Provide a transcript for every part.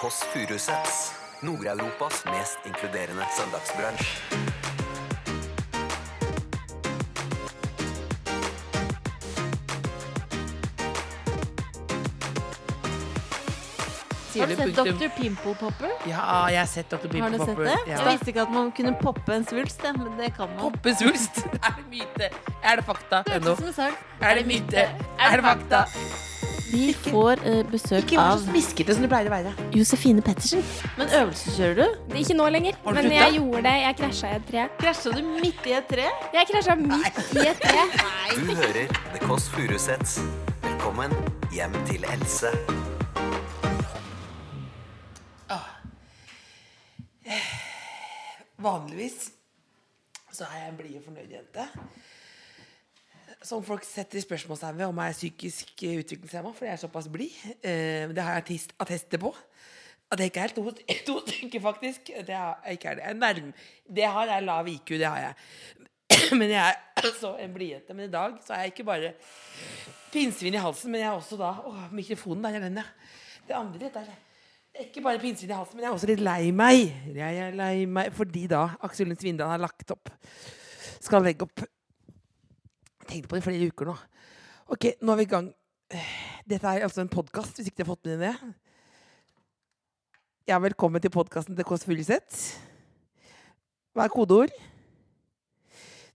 Kåss Furuseths. Nord-Europas mest inkluderende søndagsbransj. Har du sett punktum. Dr. Pimple Popper? Ja, jeg har sett Dr. Har du Pimple sett Popper. det? Ja. Jeg visste ikke at man kunne poppe en svulst, jeg, men det kan man. Poppe svulst? Er det myte? Er det fakta? Det eh? Ennå. hørtes ut som en sang. Er det myte? Er det fakta? Vi får eh, besøk av smiskete som du pleier å være. Josefine Pettersen. Men øvelseskjører du? Det er Ikke nå lenger, Har du men sluttet? jeg gjorde det. Jeg krasja i et tre. Krasja du midt i et tre? Jeg krasja midt i et tre. Du hører The Kåss Furuseths. Velkommen hjem til Else. Vanligvis så er jeg en blid og fornøyd jente. Som folk setter spørsmålstegn ved om jeg er psykisk eh, utviklingshemma, fordi jeg er såpass blid. Eh, Det har jeg attest- attester på. At jeg ikke er to, to stykker, faktisk. Det har jeg ikke er det. Jeg er nærm. Det har jeg lav IQ, det har jeg. Men jeg er altså en blidjente. Men i dag så er jeg ikke bare pinnsvin i halsen, men jeg er også da Å, mikrofonen der er den, ja. Det andre der. Ikke bare pinnsvin i halsen, men jeg er også litt lei meg. Jeg er lei meg fordi da Aksel Lund Svindal har lagt opp. Skal legge opp. Tenkt på det i flere uker nå. Ok, nå er vi i gang. Dette er altså en podkast, hvis ikke du har fått med deg det. Ja, velkommen til podkasten til Kåss Furuseth. Hva er kodeord?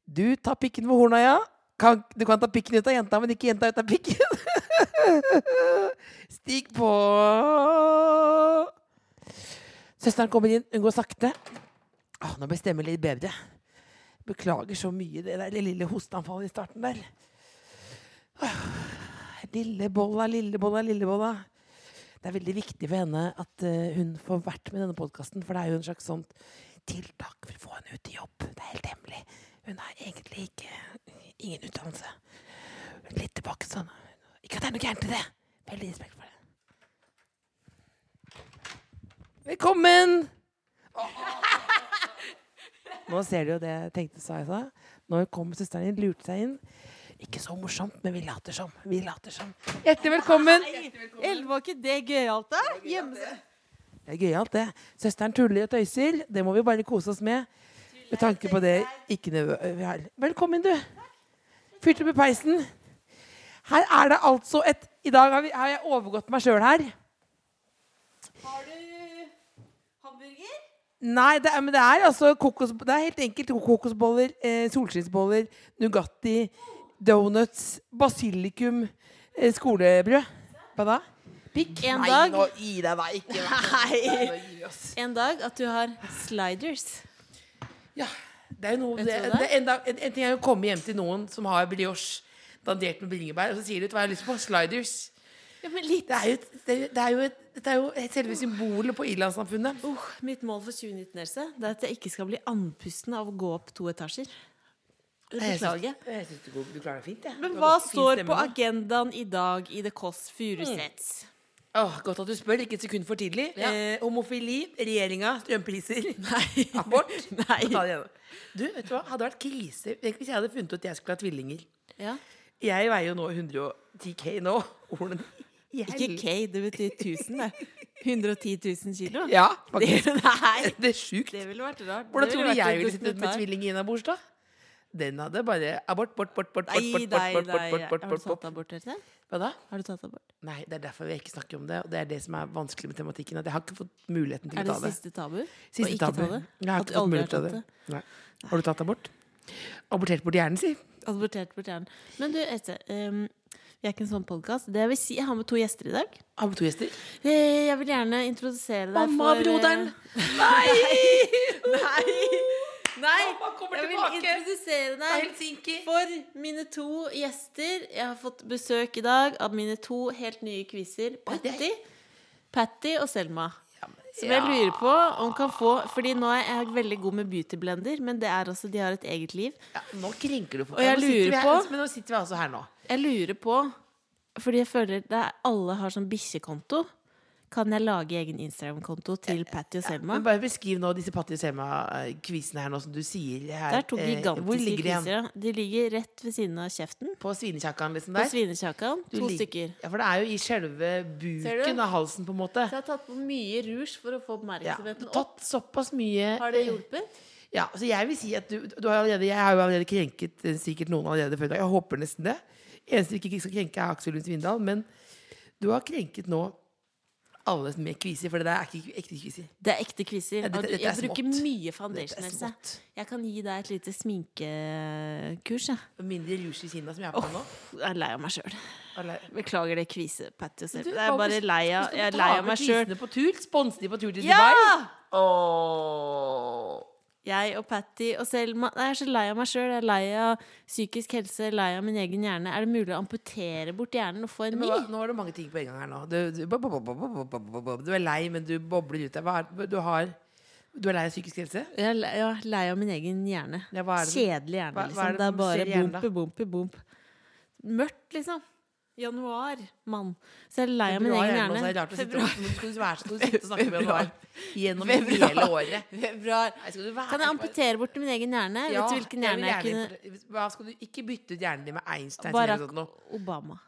Du tar pikken ved horna, ja. Kan, du kan ta pikken ut av jenta, men ikke jenta ut av pikken. Stig på Søsteren kommer inn. Hun går sakte. Åh, nå ble stemmen litt bedre. Beklager så mye det der lille hosteanfallet i starten der. Ah, Åh, Lillebolla, lillebolla, lillebolla. Det er veldig viktig for henne at eh, hun får vært med i denne podkasten, for det er jo en slags sånt tiltak for å få henne ut i jobb. Det er helt hemmelig. Hun har egentlig ikke ingen utdannelse. Litt tilbake sånn. Ikke at det er noe gærent i det. Veldig respekt for det. Velkommen! Nå ser du jo det jeg tenkte, sa jeg sa. Nå kom søsteren din, lurte seg inn. Ikke så morsomt, men vi later som. Vi later som. Hjertelig velkommen! Elleve, var ikke det gøyalt, da? Gjemme seg. Det er gøyalt, det. Søsteren tuller og tøyser. Det må vi bare kose oss med. Med tanke på det ikke nødv- vi har. Velkommen, du. Fyrte opp i peisen. Her er det altså et I dag har, vi, har jeg overgått meg sjøl her. Har du hamburger? Nei, det er, men det er altså kokos, Det er helt enkelt kokosboller, eh, solskinnsboller, Nugatti, donuts, basilikum, eh, skolebrød. Hva da? Pikk? En Nei, dag. nå gi deg, da. Ikke vær Nå gi oss. En dag at du har sliders. Ja, det er jo noe Vet det, du det, hva det er? er enda, en, en ting er jo å komme hjem til noen som har brioche dandert med bringebær, og så sier de «Vet du hva jeg har lyst på sliders. Ja, men litt. Det er jo, et- det er, jo- det er jo, et, dette er jo et selve symbolet på Irlandssamfunnet. Uh, mitt mål for 2019 Else, det er at jeg ikke skal bli andpusten av å gå opp to etasjer. Beklager. Jeg syns du, går- du klarer deg fint, jeg. Men Du har hva ganske fin står stemme på nå. agendaen i dag i The Kåss Furuseths? Mm. Åh, Godt at du spør, ikke et sekund for tidlig. Ja. Eh, homofili, regjeringa, strømpriser. Nei. Abort. Nei. Så ta det igjen. Du, vet du hva? Hadde vært krise hvis jeg hadde funnet ut at jeg skulle ha tvillinger. Ja. Jeg veier jo nå 110K nå. Hvordan i Ikke hel- K, det betyr 1000, det. 110 000 kilo? Ja, Det, faktisk. nei, Det er sjukt. det ville vært rart. Hvordan Det tror du vært jeg en ville sittet med dokumentar. tvilling i en abort, da? Den hadde bare abort, bort, bort, bort, bort, Nei, bort, nei, bort, bort, nei. bort, bort, Har du bort, tatt bort, bort. abort, Else? Hva da? Har du tatt abort? Nei, det er derfor vi ikke snakker om det. Og det er det som er vanskelig med tematikken. At jeg har ikke fått muligheten til Er å det ta det. siste tabu? Å Siste ikke ta tabu. det? Jeg har At du aldri ikke fått har mulighet til å ta tatt det. Nei. Har du tatt abort? Abortert bort hjernen, si. Abortert bort hjernen. Men du, Else, ehm, vi er ikke en sånn podkast. Det jeg vil si, jeg har med to gjester i dag. Har vi to gjester? Eh, Jeg vil gjerne introdusere deg Mamma, for eh, broderen! Nei! Nei! Nei! Mamma kommer Jeg vil tilbake! introdusere Det er deg Helsinki! for mine to gjester. Jeg har fått besøk i dag av mine to helt nye quizer. Patty, Patty og Selma. Som jeg lurer på om kan få Fordi nå er jeg veldig god med beautyblender, men det er også, de har et eget liv. Ja, nå krenker du for Og jeg Nå sitter lurer vi på- her, Men nå sitter vi altså her nå. Jeg lurer på Fordi jeg føler det er, alle har sånn bikkjekonto. kan jeg lage egen Instagram-konto til Patty og Selma. Eh, Men bare beskriv nå disse Patti og Selma-kvisene her nå som du sier her. Det er to Eh, Hvor gigantiske ligger de hen? kviser. ja. De ligger rett ved siden av kjeften. På svinekjakkeren, liksom På der? svinekjakan. Du To lig- stykker. Ja, for det er jo i selve Ser du? buken av halsen, på en måte. Så jeg har tatt på mye rouge for å få Ja, du oppmerksomheten har opp. tatt såpass mye Har det hjulpet? Ja, så jeg vil si at du, du har allerede, Jeg har jo allerede krenket eh, sikkert noen allerede før i dag. Jeg håper nesten det. Eneste vi ikke skal krenke, er Aksel Lund Svindal. Men du har krenket nå alle med kviser, for det der er ikke ekte kviser. Det er ekte quizer. Ja, dette- og du- dette er Jeg bruker smått. mye Dette foundation. er Else. smått. Jeg kan gi deg et lite sminkekurs. Jeg. Mindre rouge i kinna som jeg har på nå. jeg er lei av meg sjøl. Eller- Beklager det kvise-Patty og Du, Selma. Jeg hva er bare hvis- lei hvis av, du jeg er tar lei av med meg sjøl. Kvisene på tur? Sponse de på tur til Dubai? Ja! Åh. Jeg og Patty og Selma Nei, Jeg er så lei av meg sjøl. Jeg er lei av psykisk helse, lei av min egen hjerne. Er det mulig å amputere bort hjernen og få en Men ny? hva- Nå var det mange ting på en gang her nå. Du, du, bo- bo- bo- bo- bo- bo- bo- bo- du er lei, men du bobler ut. Hva er- Du, har, du er lei av psykisk helse? Jeg er lei- jeg er lei av min egen hjerne. Ja, hva er det- Kjedelig hjerne, hva- hva er liksom. det det er som skjer bare i hjernen, da? bompe, bompe, bomp. Mørkt, liksom. Januar, mann. Så jeg er lei av min Februar egen er det nå, så er altså. det hjerne. rart å sitte- Nå skal du være så god til å sitte og snakke med januar gjennom Februar. hele året. Februar. Nei, skal du være- Kan jeg amputere bort min egen hjerne? Ja, Vet du hvilken jeg hjerne vil jeg gjerne kunne import- Hva skal du ikke bytte ut hjernen din med Einstein? som gjør Barack sånt nå? Obama.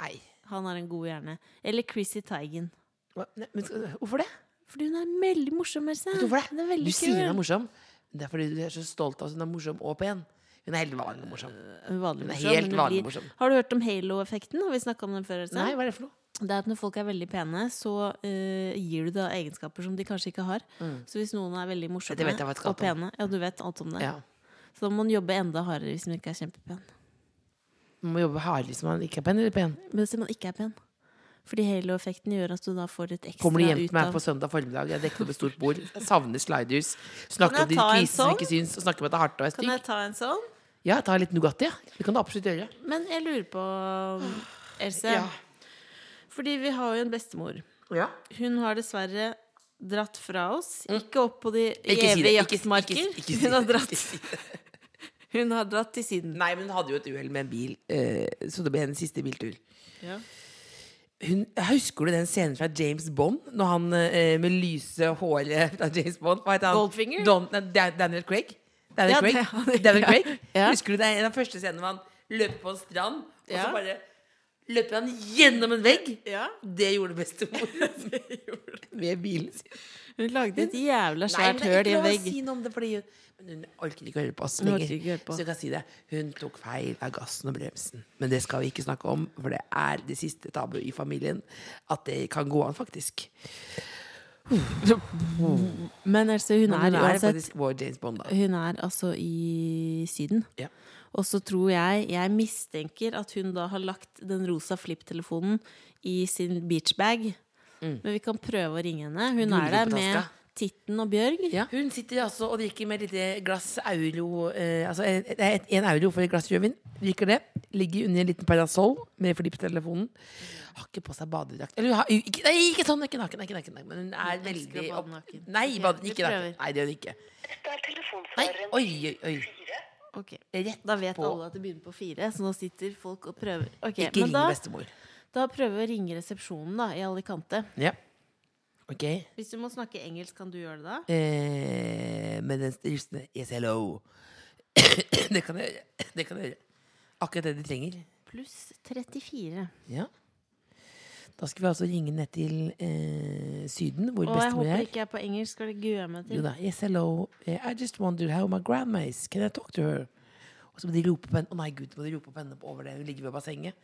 Nei. Han har en god hjerne. Eller Chrissy Teigen. Hva- Nei, men skal, hvorfor det? Fordi hun er veldig morsom, Else. Vet du hvorfor det? Hun er veldig Du sier hun er kul. morsom. men Det er fordi du er så stolt av at hun er morsom og pen. Hun er helt vanlig morsom. Hun er vanlig Hun er morsom, men helt hun vanlig blir- morsom. Har du hørt om halo-effekten? Har vi snakka om den før? Else? Nei, hva er det for noe? Det er at når folk er veldig pene, så eh, gir du da egenskaper som de kanskje ikke har. Så hvis noen er veldig Dette morsomme Mm. vet jeg hva jeg skal og ta om. pene Ja, du vet alt om det. Ja. Så da må man jobbe enda hardere hvis man ikke er kjempepen. Man må jobbe hardere hvis man ikke er pen eller pen. Men hvis man ikke er pen Fordi halo-effekten gjør at du da får litt ekstra Kommer du hjem ut til meg av på søndag formiddag, jeg dekker opp et stort bord, jeg savner sliders, snakker Kan jeg om de ta en kvisene som sånn? ikke syns, og snakker om at det er hardt og er Kan stygg. jeg ta en sånn? Ja, ta litt Nugatti, ja. Det kan du absolutt gjøre. Men jeg lurer på, Else Ja. Fordi vi har jo en bestemor. Ja. Hun har dessverre dratt fra oss. Ikke opp på de Mm. Ikke si det, evige ikke si- jaktmarker. ikke si- ikke si Hun har det, dratt, hun har dratt til Syden. Nei, men hun hadde jo et uhell med en bil, eh, så det ble hennes siste biltur. Ja. Hun, husker du den scenen fra James Bond? Når han eh, med lyse håret fra James Bond Hva heter han? Goldfinger? Don, nei, Da- Daniel Craig. Daniel Ja, Craig. det- Daniel ja. Craig. Ja. Husker du det? Den første scenen hvor han løper på en strand, og Ja. så bare løper han gjennom en vegg. Ja. Det gjorde bestemor. Med bilen sin. Hun lagde et jævla svært det er høl i ikke en lov å vegg. si noe om det, fordi hun, men hun orker ikke å høre på oss Hun orker lenger. ikke å høre på. Så jeg kan si det. Hun tok feil av gassen og bremsen. Men det skal vi ikke snakke om, for det er det siste tabu i familien. At det kan gå an, faktisk. Men altså, hun er Men hun er uansett faktisk vår James Bond, da. Hun er altså i Syden. Ja. Og så tror jeg Jeg mistenker at hun da har lagt den rosa flipptelefonen i sin beachbag. Mm. Men vi kan prøve å ringe henne. Hun Gulrotetaska. er der med Titten og Bjørg. Hun sitter altså og drikker med et lite glass euro eh, Altså en, en- en euro for et glass rødvin. Drikker det. Ligger under en liten parasoll med flipp på telefonen. Har ikke på seg badedrakt. Eller hun har ikke, Nei, ikke sånn! Ikke naken, ikke naken. naken, Men hun er Hun elsker å veldig bade opp... naken. Nei, Ok, bade, vi ikke naken. prøver. Nei, det gjør hun ikke. Dette er Nei, telefonsvareren oi, oi, oi. fire. Ok. Rett Da vet på. alle at det begynner på fire, så nå sitter folk og prøver. Ok, Ikke men ring da, bestemor. da prøver vi å ringe resepsjonen da, i Alicante. Ja. Ok. Hvis du må snakke engelsk, kan du gjøre det da? Eh, med den rustne Yes, hello. det kan jeg gjøre. Det kan jeg gjøre. Akkurat det de trenger. Pluss 34. Ja. Da skal vi altså ringe ned til eh, Syden, hvor Og jeg bestemor håper er. ikke jeg er på engelsk, skal det gøe meg Jo til. da. Yes, hello. Eh, I just wondered how my grandma is. Can I talk to her? Og så må de rope på henne. Å nei, gud, må de rope på henne over det. Hun ligger ved bassenget.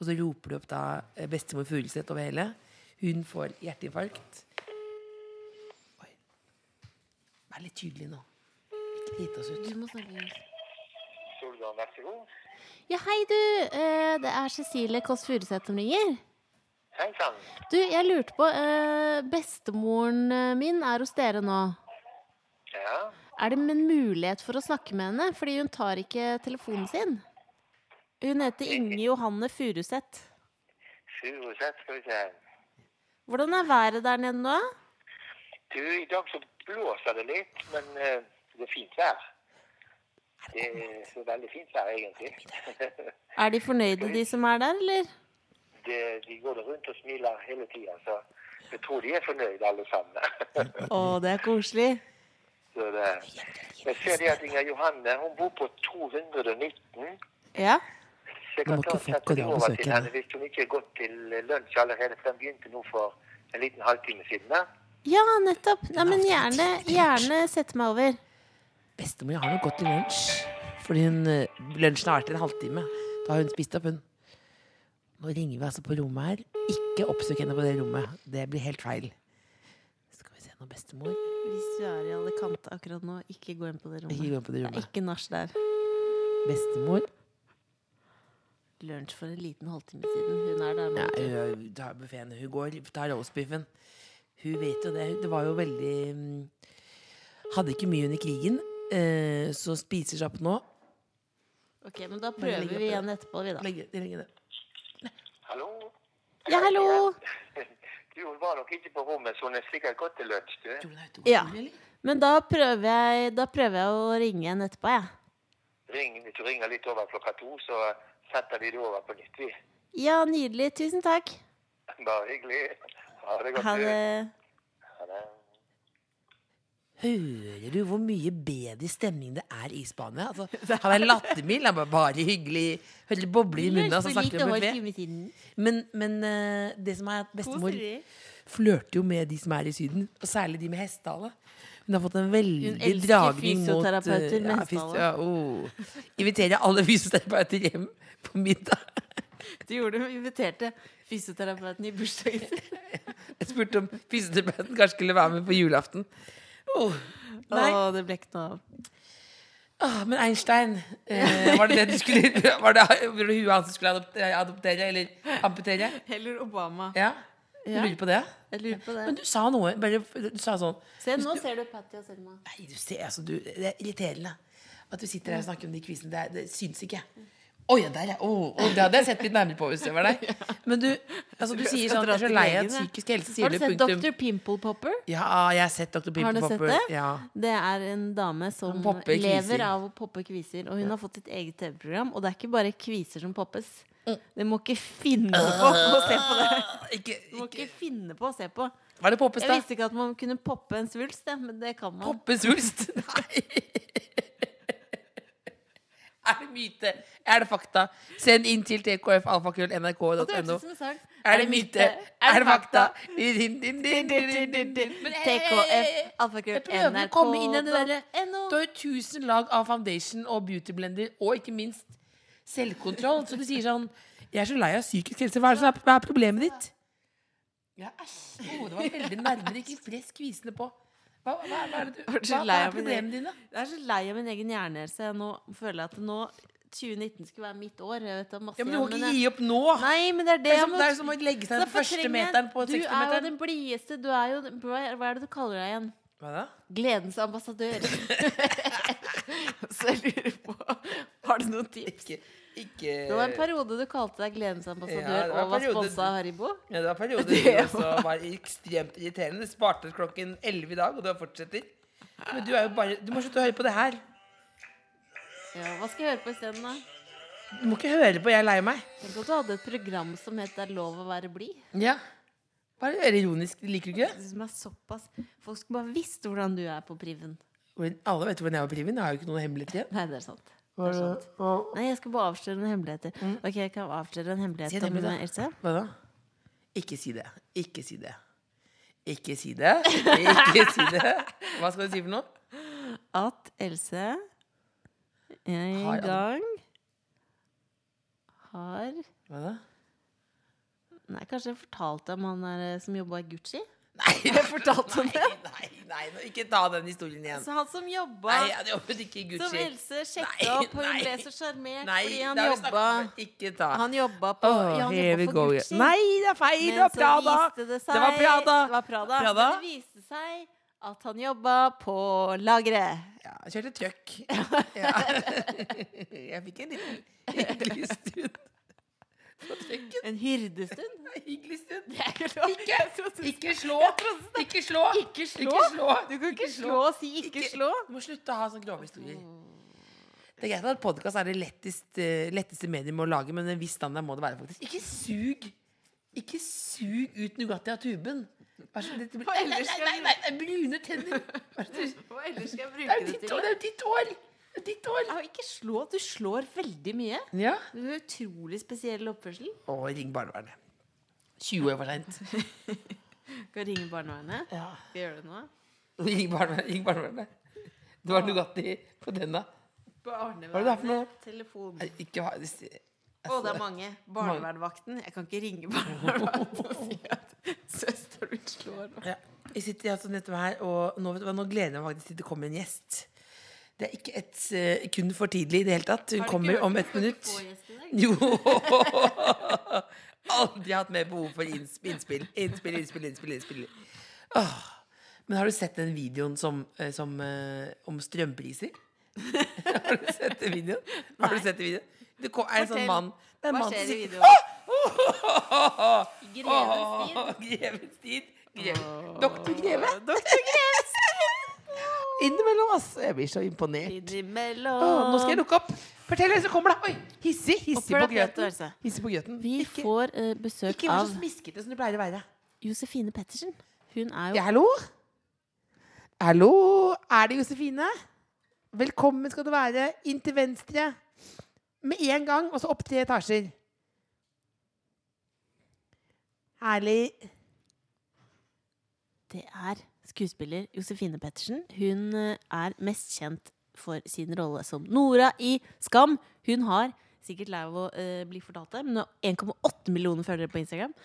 Og så roper de opp da eh, bestemor Furuseth over hele. Hun får hjerteinfarkt. Oi. Vær litt tydelig nå. Ikke drit oss ut. Du må snakke engelsk. Soldan, vær så god. Ja, hei du, eh, det er Cecilie Kåss Furuseth som ringer. Hei sann. Du, jeg lurte på, eh, bestemoren eh, min er hos dere nå. Ja. Er det en mulighet for å snakke med henne? Fordi hun tar ikke telefonen sin. Hun heter Inge Johanne Furuseth. Furuseth, skal vi se. her. Hvordan er været der nede nå? Du, i dag så blåser det litt, men eh, det er fint vær. Det er så veldig fint vær, egentlig. Er de fornøyde, de som er der, eller? det, de går rundt og smiler hele tida, så Jeg tror de er fornøyde alle sammen. Å, det er koselig. Så det, jeg ser det at Inger Johanne hun bor på 219. Ja. Så jeg Nå kan må ta ikke folk gå og sette der det og over besøke til henne. henne hvis hun ikke er gått til lunsj allerede. For den begynte nå for en liten halvtime siden. da. Ja, nettopp. Nei, men avtalt gjerne, tidlig gjerne sette meg over. Bestemor har noe godt til lunsj. Fordi hun, eh, lunsjen har vært en halvtime. Da har hun spist opp, hun. Nå ringer vi altså på rommet her. Ikke oppsøk henne på det rommet. Det blir helt feil. Skal vi se nå, bestemor. Hvis du er i Alicante akkurat nå, ikke gå inn på det Ikke rommet. gå inn på det Det er rommet. ikke nach der. Bestemor. Lunsj for en liten halvtime siden. Hun er der Ja, nå. hun tar buffeen. Hun går, tar roastbiffen. Hun vet jo det. Det var jo veldig mm, Hadde ikke mye under krigen. eh, Så spiser seg opp nå. Ok, men da Bare prøver legg opp vi det. igjen etterpå, vi, da. Legge, legge det. Hallo? Ja, hallo! Du, hun var nok ikke på rommet, så hun er sikkert gått til lunsj. du. Tror hun er ute og går Ja. tur, eller? Men da prøver jeg, da prøver jeg å ringe igjen etterpå, jeg. Ring, hvis du ringer litt over klokka to, så setter vi det over på nytt. vi. Ja, nydelig. Tusen takk. Bare hyggelig. Ha det godt. Ha du. det. Ha det. Hører du hvor mye bedre stemning det er i Spania? Altså, han er lattermild, han er bare hyggelig. Hører litt bobler i munnen, altså, og så snakker han om buffé. Men, men eh, det som er at bestemor Koselig. flørter jo med de som er i Syden, og særlig de med hestehale. Hun har fått en Hun veldig elsker dragning mot eh, fysioterapeuter med ja, hestehale. fys- Ja, oh. Inviterer alle fysioterapeuter hjem på middag. Du gjorde det, inviterte fysioterapeuten i bursdagen sin. Jeg spurte om fysioterapeuten kanskje skulle være med på julaften. Oh. Nei. Å, det ble ikke noe av. Ah, men Einstein, eh, var det det du skulle Var det var det huet hans du skulle adoptere, adoptere eller amputere? Heller Obama. Ja? Du Ja. lurer på det? Jeg lurer på Men det. du sa noe. Bare, du sa sånn Se, nå ser du Patty og Selma. Nei, du ser, altså, du, det er irriterende at du sitter her og snakker om de kvisene. Det, er- det syns ikke. Å ja, der, ja. Å, å, det hadde jeg sett litt nærmere på hvis det var deg. Men du, altså, du Jeg sier skal sånn dra Jeg er så til lei av legen, jeg. psykisk helse, sier Har du du sett punktum. Dr. Pimple Popper? Ja, jeg har sett Dr. Har Pimple du sett Popper. det? Ja. Det er en dame som Som popper kviser. lever av å poppe kviser. Og hun har fått sitt eget TV-program. Og det er ikke bare kviser som poppes. Mm. Det må ikke finne på å se på det. Ikke, Du må ikke finne på å se på. var det poppes, Jeg da? visste ikke at man kunne poppe en svulst, jeg, men det kan man. Poppe svulst? Nei. Er det myte? Er det fakta? Send inn til tkfalfakrøll.nrk.no. Det hørtes ut som en sang. Er det myte? Er det fakta? Din, din, din, din, din, din, din. Men, TKF, eh, Jeg alfakrøll, prøver å komme inn i det derre nrk.no. Du har jo tusen lag av foundation og beautyblender, og ikke minst selvkontroll. Så du sier sånn Jeg er så lei av psykisk helse. Hva er, det som er, hva er problemet ditt? Ja, æsj. Å, det var veldig nærmere. Ikke press kvisene på. Hva, hva, hva er det du Var du så hva, hva lei er av min egen- problemene dine? Jeg er så lei av min egen hjernehelse. Jeg nå føler jeg at nå 2019 skulle være mitt år. Jeg vet, det er masse Ja, men du må igjen, ikke jeg- gi opp nå. Nei, men det er det det, er jeg som, må det er som å legge seg den Derfor første trenger jeg- meteren på Du er jo 60-meteren. den blideste. Du er jo den- Hva er- hva er det du kaller deg igjen? Hva da? Gledens ambassadør. Så jeg lurer på Har du noen tips? Ikke, ikke Det var en periode du kalte deg Gledens ambassadør Ja, det var en og var periode- sponsa av Haribo. ja, Det var perioder Det det også var ekstremt irriterende. Det sparte klokken 11 i dag, og du fortsetter. Men du er jo bare Du må slutte å høre på det her. Ja, hva skal jeg høre på isteden, da? Du må ikke høre på 'Jeg er lei meg'. Tenk at du hadde et program som het 'Det er lov å være blid'. Ja. Bare høre ironisk. Liker du ikke det? Det Som er såpass Folk skulle bare visst hvordan du er på priven. Hvordan- Alle vet hvordan jeg var priven. Jeg har jo ikke noen hemmeligheter igjen. Nei, det er sant. Det Hva er sant. hva- Nei, jeg skal bare avsløre noen hemmeligheter. Ok, jeg kan avsløre en Mm. Si hemmelighet en om hemmelighet, da. Else. Hva da? Ikke si det. Ikke si det. Ikke si det. Ikke si det. Hva skal du si for noe? At Else Har en alle- gang har Hva da? Nei, kanskje jeg fortalte om han der eh, som jobba i Gucci? Nei, Jeg fortalte om det. Nei, nei, nå, ikke ta den historien igjen. Så han som jobba Nei, jeg jobbet ikke Som i Gucci. Else sjekka Nei, opp, og hun nei. ble så sjarmert Nei, fordi han det har vi jobba snakket om. Ikke ta. Han jobba på Åh, ja, han here we jobba go for again. Gucci. Nei, det er feil! Det Men var så Prada! viste det seg Det var Prada! Det var Prada. Prada. Men det viste seg at han jobba på lageret. Ja, jeg kjørte trøkk. Ja. Jeg fikk en liten hyggelig stund på trøkken. En hyrdestund. Hyggelig stund. Det er ikke lov. Jeg trodde du Ikke slå! Ikke slå! Ikke slå? Du kan ikke slå og si 'ikke slå'. Du må slutte å ha sånne grove historier. Det er greit at podkast er det letteste, letteste medium å lage, men en viss standard må det være, faktisk. Ikke sug Ikke sug ut Nugatti av tuben. Vær så- dette blir- Hva Nei, ellers nei, skal nei, nei, nei, brune tenner! Hva er det du- Hva ellers skal jeg Det er bruke jo det ditt hår! til? Det Ah. er jo ditt hår! Det er ditt hår! Ja, ikke slå. Du slår veldig mye. Ja. Du har utrolig spesiell oppførsel. Og ring barnevernet. 20 år for seint. Skal jeg ringe barnevernet. Ja. Skal jeg gjøre det nå? Ring barnevernet. Ring barnevernet. Det var Nugatti på tenna. Barnevernet. Hva er det der for noe? Telefon. Nei, Ikke ha Å, det er mange. Barnevernvakten. Jeg kan ikke ringe barnevernvakten og si at søsteren min slår meg. Ja. Jeg sitter altså nettopp her, og nå, vet du hva, nå gleder jeg meg faktisk til det kommer en gjest. Det er ikke et sekund for tidlig i det hele tatt. Har du Hun ikke hørt kommer om at vi et skal minutt. få gjest i dag? Jo! Aldri hatt mer behov for innspill, innspill, innspill, innspill. innspill, innspill. Åh. Men har du sett den videoen som, eh, som, eh, om strømpriser? har du sett den videoen? Har du Nei. sett den videoen? Det ko- er en Fortell. sånn mann det er en Hva mann skjer som i sitter- videoen? Åh! Grevens tid. Åh, Grevens tid. Greve. Doktor Greve. Doktor Greves. Innimellom, ass. Jeg blir så imponert. Innimellom. Åh, nå skal jeg lukke opp. Fortell hvem som kommer, da. Oi, hissig. Hissig Oppfør på deg pent, grøten. Else. Hissig på grøten. altså. Vi Ikke- får eh, besøk Ikke vær av så smiskete som du pleier å være. Josefine Pettersen. Hun er jo Ja, hallo? Hallo, er det Josefine? Velkommen skal du være inn til venstre. Med en gang, og så opp tre etasjer. Herlig. Det er skuespiller Josefine Pettersen. Hun eh, er mest kjent for sin rolle som Nora i Skam. Hun har sikkert lei av å eh, bli fortalt det, men hun har 1,8 millioner følgere på Instagram.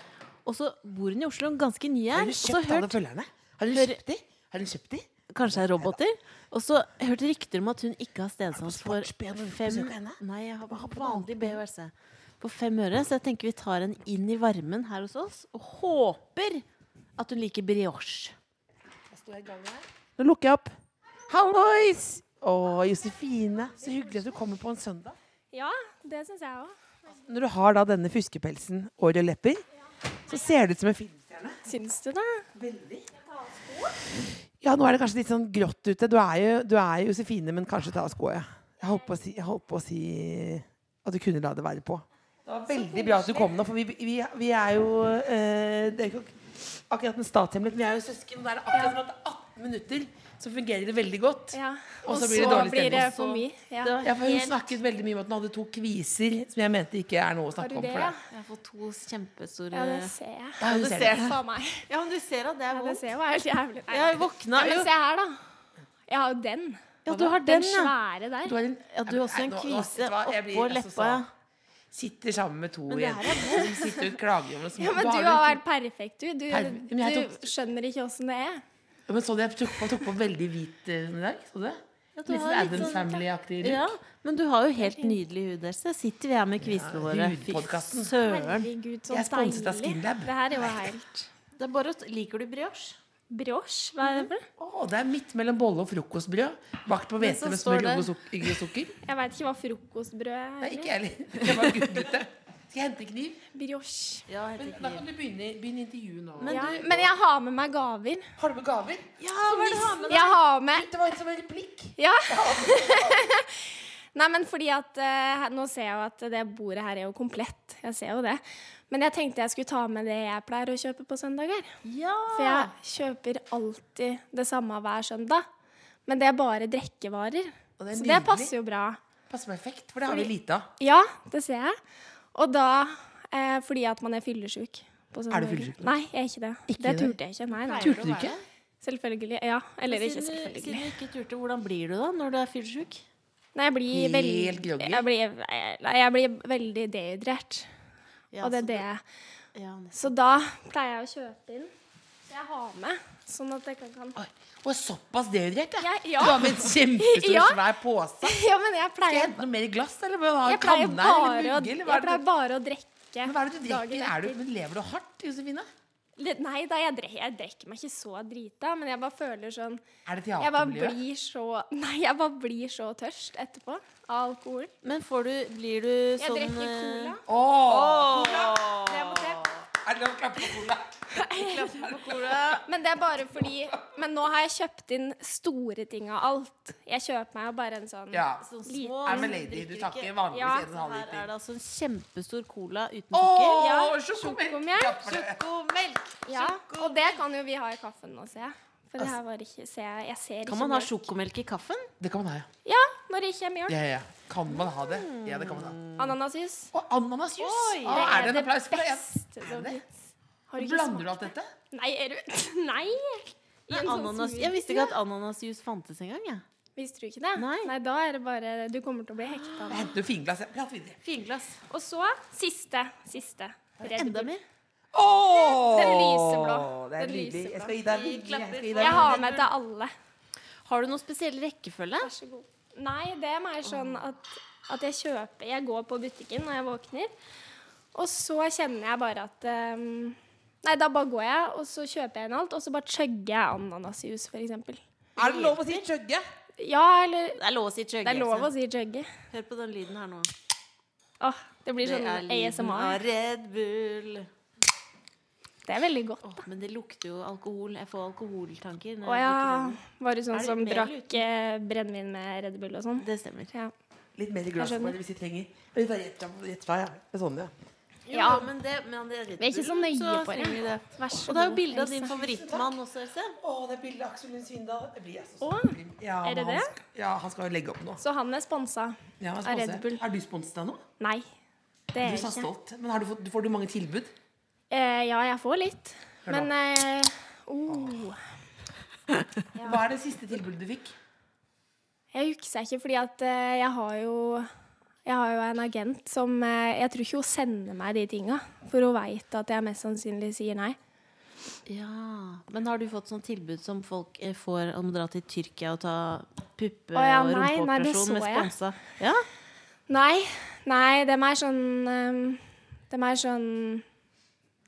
Og så bor hun i Oslo, ganske ny her. Har du Og så kjøpt alle hørt følgerne? Har du Hør- kjøpt de? Har du kjøpt de? kanskje er roboter. Og så hørt rykter om at hun ikke har stedsans på for sports-B når du fem besøker henne? Nei, jeg har på vanlig BHRC. På fem øre. Så jeg tenker vi tar henne inn i varmen her hos oss, og håper at hun liker brioche. Nå lukker jeg opp. Hallois! Å, Josefine. Så hyggelig at du kommer på en søndag. Ja, det syns jeg òg. Når du har da denne fuskepelsen og røde lepper, så ser du ut som en filmstjerne. Syns du det? Ja, nå er det kanskje litt sånn grått ute. Du er jo, du er jo Josefine, men kanskje ta av skoa. ja. Jeg holdt på å si, jeg holdt på å si at du kunne la det være på. Det var veldig bra at du kom nå, for vi, vi, vi er jo eh, Det er jo ikke ak- akkurat en statshemmelighet, men vi er jo søsken. og Da er det akkurat som at det er 18 minutter, så fungerer det veldig godt. Ja. Og så blir det dårlig stemning. det for mye. Ja. Det var Ja, for hun helt- snakket veldig mye om at hun hadde to kviser som jeg mente ikke er noe å Har snakke du om det, for ja? deg. Jeg har fått to kjempestore Ja, det ser jeg. Ja, hun du ser ser det. det. Faen meg. Ja, men du ser at det er Ja, det vondt. ser jo helt jævlig Nei, Jeg våkna Ja, jo men se her, da. Jeg har jo den. Ja, du har den, Den ja. svære der. Du har en, Ja, du har også Nei, en nå- nå- kvise vet du hva, jeg blir oppå altså leppa, ja. så- Sitter sammen med to Men det her jenter som sitter og klager om det. Ja, men du har vært perfekt, du. Du, Perf- Men jeg tok- du skjønner ikke åssen det er. Ja, men så du jeg tok på, tok på veldig hvit eh, sånn i dag? Så du det? du litt har sånn litt Adams sånn- Family-aktig. look. ja. Men du har jo helt nydelig hud, Else. Sitter vi her med kvisene våre. hudpodkasten. søren. Herregud, så Jeg er sponset av deilig. Skinlab. Det her er jo helt Det er bare å Liker du brioche? Brioche? Hva er det for noe? Å, det er midt mellom bolle og frokostbrød. Bakt på så hvete med står smør det- og suk- og sukker. Jeg veit ikke hva frokostbrød er. Nei, ikke eller? jeg heller. Jeg bare googlet det. Skal jeg hente kniv? Brioche. Ja, Men da kan du begynne, begynne intervjuet nå. Ja, men jeg har med meg gaver. Har du med gaver? hva er det du har med deg? Jeg har med Det var en som en replikk. Ja! Nei, men fordi at eh, her- Nå ser jeg jo at det bordet her er jo komplett. Jeg ser jo det. Men jeg tenkte jeg skulle ta med det jeg pleier å kjøpe på søndager. For Ja. jeg kjøper alltid det samme hver søndag. Men det er bare drikkevarer. Og det er Så det nydelig. passer jo bra. Passer perfekt, for det har vi lite av. Ja, det ser jeg. Og da eh, fordi at man er fyllesyk. på Er du søndager. fyllesyk nå? Nei, jeg er ikke det. det det? turte jeg ikke. Nei, nei. Turte du ikke? Selvfølgelig. Ja. Eller ikke Siden du, siden selvfølgelig. du ikke turte, hvordan blir du da når du er fyllesyk? Nei, jeg blir Helt veldig groggy? jeg blir, nei, jeg blir veldig dehydrert. Ja, og det er så det. Ja, nesten. Så da pleier jeg å kjøpe inn det jeg har med, sånn at jeg kan, kan. Oi, Og såpass dehydrert, ja. Jeg, ja. Du har med en kjempestor, Ja. svær påse. ja, men jeg Skal jeg pleier, hente noe mer i glass, eller hva? Har jeg du pleier, kanne bare, eller å, mugge, jeg eller hva er det pleier du- bare å drikke. Men hva er det du drikker? dagen Er du, etter. men lever du hardt, Josefine? Litt- Nei da, jeg drikker, jeg drikker meg ikke så drita, men jeg bare føler sånn Er det Jeg bare teatermiljø? blir så Nei, jeg bare blir så tørst etterpå av alkohol. Men får du Blir du Jeg sånn drikker eh, cola. Åh, Det må til. Er det lov å klappe på cola? Klapper på cola. Men det er bare fordi Men nå har jeg kjøpt inn store ting av alt. Jeg kjøper meg jo bare en sånn Ja. Sånn Liten. små Nei, men lady, du drikker takker ikke. vanligvis Ja, en og en halv Her er liter. det altså en kjempestor cola uten Å, sukker. Ja, sjokomelk! sjokomelk. Ja, for det- Sjokomelk! Ja, Sjoko- og det kan jo vi ha i kaffen nå, ser jeg. For det her var ikke ser jeg, jeg ser Kan ikke man ha mjølk. sjokomelk i kaffen? Det kan man ha, ja. Ja, når det ikke er mjølk. ja, ja. Kan man ha det? Ja, det kan man ha. Mm. Ananasjus. Og ananasjus! Oi, Ah, er det en applaus for det? beste Er som det? fins. Har du ikke Blander smakt? du alt dette? Nei, er du Nei! I en sånn Ananas, smoothie. jeg visste ikke at ananasjus fantes engang. jeg. Visste du ikke det? Nei. da er det bare Du kommer til å bli hekta. Jeg henter jo finglass. jeg. Prat videre. Finglass. Og så siste. Siste. Red Enda Bull. mer. Åh! Den lyseblå. Det er Den nydelig. Jeg lyseblå. skal gi deg Vi en klapper liten. for- Jeg har med til alle. Har du noen spesiell rekkefølge? Vær så god. Nei, det er mer sånn at, at jeg kjøper Jeg går på butikken når jeg våkner, og så kjenner jeg bare at ehm, Nei, da bare går jeg, og så kjøper jeg inn alt, og så bare chugger jeg ananasjus, f.eks. Er det lov å si chugge? Ja, eller Det er lov å si chugge. Det er lov å altså. si chugge. Hør på den lyden her nå. Åh, det blir Det sånn er lyden av ASMR. Red Bull. Det er veldig godt. Åh, men det lukter jo alkohol. Jeg får alkoholtanker. når Å jeg ja. drikker den. Var du Er sånn det som mer drakk eller uten? eh, brennevin med Red Bull og sånn? Det stemmer. Ja. Litt mer i glasset skjønner. bare hvis vi trenger. Men da gjett- Gjett fra, ja. Det er Sånn, ja. Jo, Ja. men det, men det er Red Vi er ikke så nøye så på det. trenger vi det. Vær så Og det er jo god, bilde av din Else. favorittmann også, Else. Å, det er bildet av Aksel Lund Svindal. Det blir jeg så Å, stolt av. Ja, er det men han det? sk- Ja, han skal jo legge opp nå. Så han er sponsa? Ja, han Av Red sponser. Bull. Er du sponset av noe? Nei. Det Du er sa jeg ikke. stolt. Men har du fått, får du mange tilbud? Eh, ja, jeg får litt. Hør Men eh, oh, Hva er det siste tilbudet du fikk? Jeg jukser ikke, fordi at eh, jeg har jo jeg har jo en agent som eh, Jeg tror ikke hun sender meg de tinga. For hun veit at jeg mest sannsynlig sier nei. Ja, Men har du fått sånn tilbud som folk eh, får om å dra til Tyrkia og ta puppe- Å ja, og nei, nei, det rumpeoperasjon så med jeg. sponsa? Ja? Nei. Nei, det er mer sånn ehm, Det er mer sånn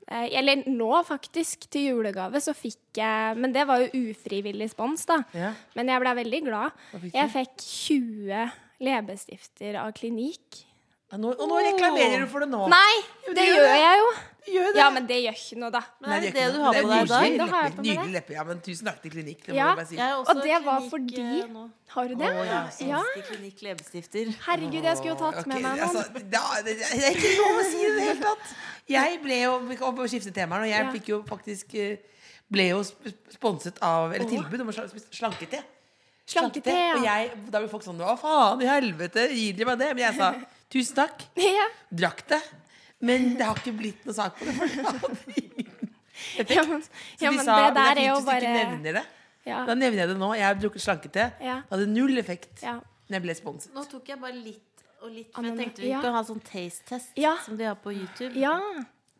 eh, Eller nå, faktisk, til julegave så fikk jeg Men det var jo ufrivillig spons, da. Ja. Men jeg ble veldig glad. fikk du? Jeg fikk 20 leppestifter av klinikk. Ja, Nå, og nå reklamerer du for det nå. Nei! Jo, Det det gjør gjør det. jeg jo. Gjør det. Ja, men det gjør ikke noe, da. Men er det det gjør du ikke noe. har Det på er deg i dag? nydelige Det har jeg lepper. på meg. Nydelige lepper. Ja, men tusen takk til klinikk. Det må Ja. jeg bare si. Jeg er Og det var klinikk, fordi- eh, nå. Har du det? Å, ja. Ja. Eneste klinikk leppestifter. Herregud, jeg skulle jo tatt Ok, med meg altså, noen. da, det, det er ikke lov å si det i det hele tatt. Jeg ble jo vi kan skifte temaer, og jeg Ja. fikk jo faktisk eh, ble jo sp- sponset av Eller tilbud om å sl- sp- slankete. Slankete, Og ja. jeg, da ble folk sånn Hva faen i helvete, gir dere meg det? Men jeg sa tusen takk. ja. Drakk det. Men det har ikke blitt noe sak på det. For det hadde ingen Ja, men, Så ja, de men sa, "Men det der det er fint jo hvis du bare ikke nevner det. ja. Da nevner jeg det nå. Jeg har drukket slankete. Ja. Det hadde null effekt Ja. når jeg ble sponset. Nå tok jeg bare litt og litt, for jeg Ananas. tenkte vi Ja. kunne ha sånn taste-test Ja. som de har på YouTube. ja.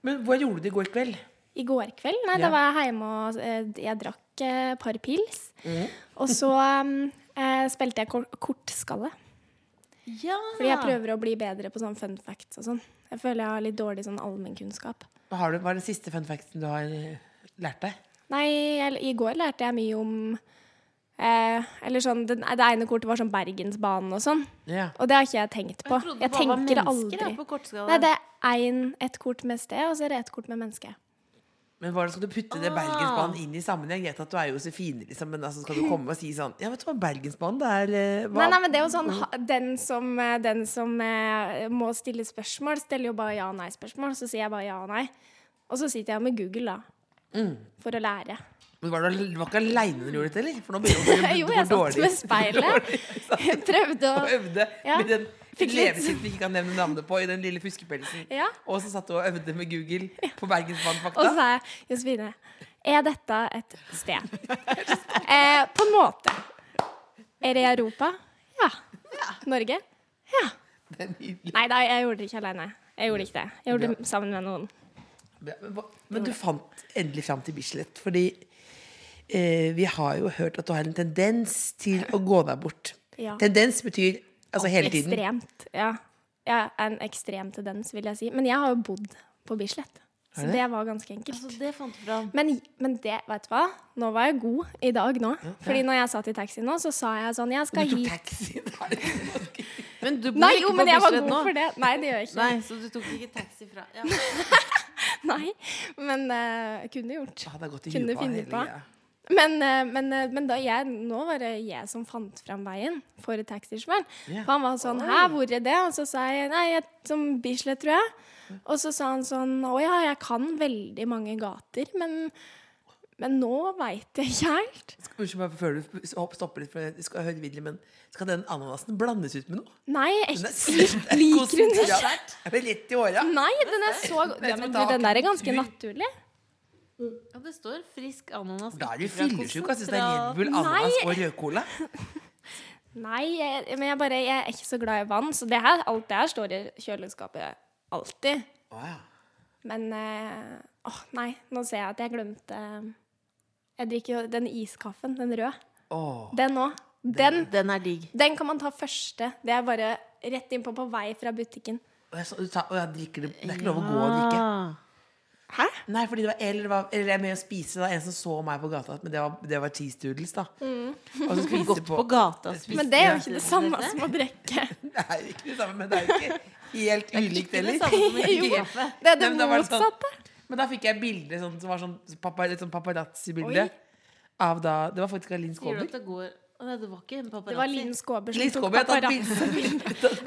Men hva gjorde du i går kveld? I går kveld? Nei, Ja. da var jeg hjemme og eh, jeg drakk eh, et par pils. Mm. Og så um, eh, spilte jeg kor kortskalle. Ja. Fordi jeg prøver å bli bedre på sånn fun facts og sånn. Jeg føler jeg har litt dårlig sånn allmennkunnskap. Hva har du, hva er den siste fun facten du har eh, lært deg? Nei, jeg, i går lærte jeg mye om eh, Eller sånn det, det ene kortet var sånn Bergensbanen og sånn. Ja. Og det har ikke jeg tenkt på. Jeg trodde Jeg, det bare var tenker det mennesker, aldri. ja, på kortskala. Nei, det er en, et kort med sted, og så er det et kort med menneske. Men hvordan skal du putte det Bergensbanen inn i sammenheng? Jeg vet at du er Josefine, liksom, men altså, skal du komme og si sånn Ja, vet du hva, Bergensbanen, det er eh, hva? Nei, nei, men det er jo sånn ha- Den som, eh, den som eh, må stille spørsmål, stiller jo bare ja- og nei-spørsmål. Så sier jeg bare ja og nei. Og så sitter jeg med Google, da. For å lære. Men var du, du var ikke aleine når du gjorde dette, eller? For nå begynner du å Jo, gå jeg satt dårlig. med speilet. Jeg prøvde Og å øvde Ja. med den Fikk litt- leppestiften vi ikke kan nevne navnet på, i den lille fuskepelsen. Ja. Og så satt du og øvde med Google på Og så Bergensbanen-fakta. sa jeg Josefine, er dette et sted? eh, på en måte. Er det i Europa? Ja. Norge? Ja. Det er nydelig. Nei da, jeg gjorde det ikke alene. Jeg gjorde ikke det. Jeg gjorde det sammen med noen. Bra. Men, hva- men du fant endelig fram til Bislett, fordi eh, vi har jo hørt at du har en tendens til å gå deg bort. Ja. Tendens betyr altså hele tiden. Ekstremt. Ja. ja. En ekstrem tendens, vil jeg si. Men jeg har jo bodd på Bislett, så det? det var ganske enkelt. Så det fant du fram. Men, men det, vet du hva? Nå var jeg god i dag nå. Fordi når jeg satt i taxi nå, så sa jeg sånn Jeg skal Du tok hit taxi der. Men du bor Nei, ikke jo, på men jeg var Bislett god nå. for det. Nei, det gjør jeg ikke. Nei, så du tok ikke taxi fra ja. Nei, men eh, kunne gjort. Han er godt i Kunne huet på finne hele på. greia. Men, eh, men, eh, men da jeg, nå var det jeg som fant fram veien for taxisjåføren. Ja. For han var sånn 'Hæ, hvor er det?' Og så sa jeg nei, jeg, som Bislett, tror jeg. Og så sa han sånn 'Å ja, jeg kan veldig mange gater, men, men nå veit jeg ikke helt'. Skal- Unnskyld meg før du hopp- stopper litt, for jeg skal høre videre, men skal den ananasen blandes ut med noe? Nei, jeg Den er- liker hun Ja, ikke. Er det lett i åra? Nei, den er så god. Ja, men du, den der er ganske naturlig. Ja, det står frisk ananas. Da er du ikke fra fyllesyk. Jeg syns altså, det er Red Bull, Nei. ananas og rødcola. Nei, jeg, men jeg, bare, jeg er ikke så glad i vann, så det her, alt det her står i kjøleskapet alltid. Wow. Men eh, åh, nei, nå ser jeg at jeg glemte eh, Jeg drikker jo den iskaffen, den røde. Åh. Den òg. Den, konsentrat. Den er digg. den kan man ta første. Det er bare rett innpå på vei fra butikken. Og jeg, sa- du sa, og jeg drikker det Det er ikke lov å gå og drikke. Ah. Hæ? Nei, fordi det var eller, det var, eller jeg er med å spise. Det var en som så meg på gata, men det var, det var cheese doodles, da. Og så spise Gått på gata og spise- spist. Men det er jo Ja. ikke det samme som å drikke. Det er jo ikke det samme, men det er jo ikke helt ulikt ikke det heller. samme som å drikke Ikke- kaffe. Det er Nei, det men da var det sånn- motsatte. Men da fikk jeg bilde sånn, som var sånn, pappa, litt sånn paparazzi-bilde Oi. av da Det var faktisk av Linn Sier du Skåber. at det går Å, Nei, det var ikke en paparazzi. Det var Linn Skåber som Linn tok Skåber har tatt paparazzi.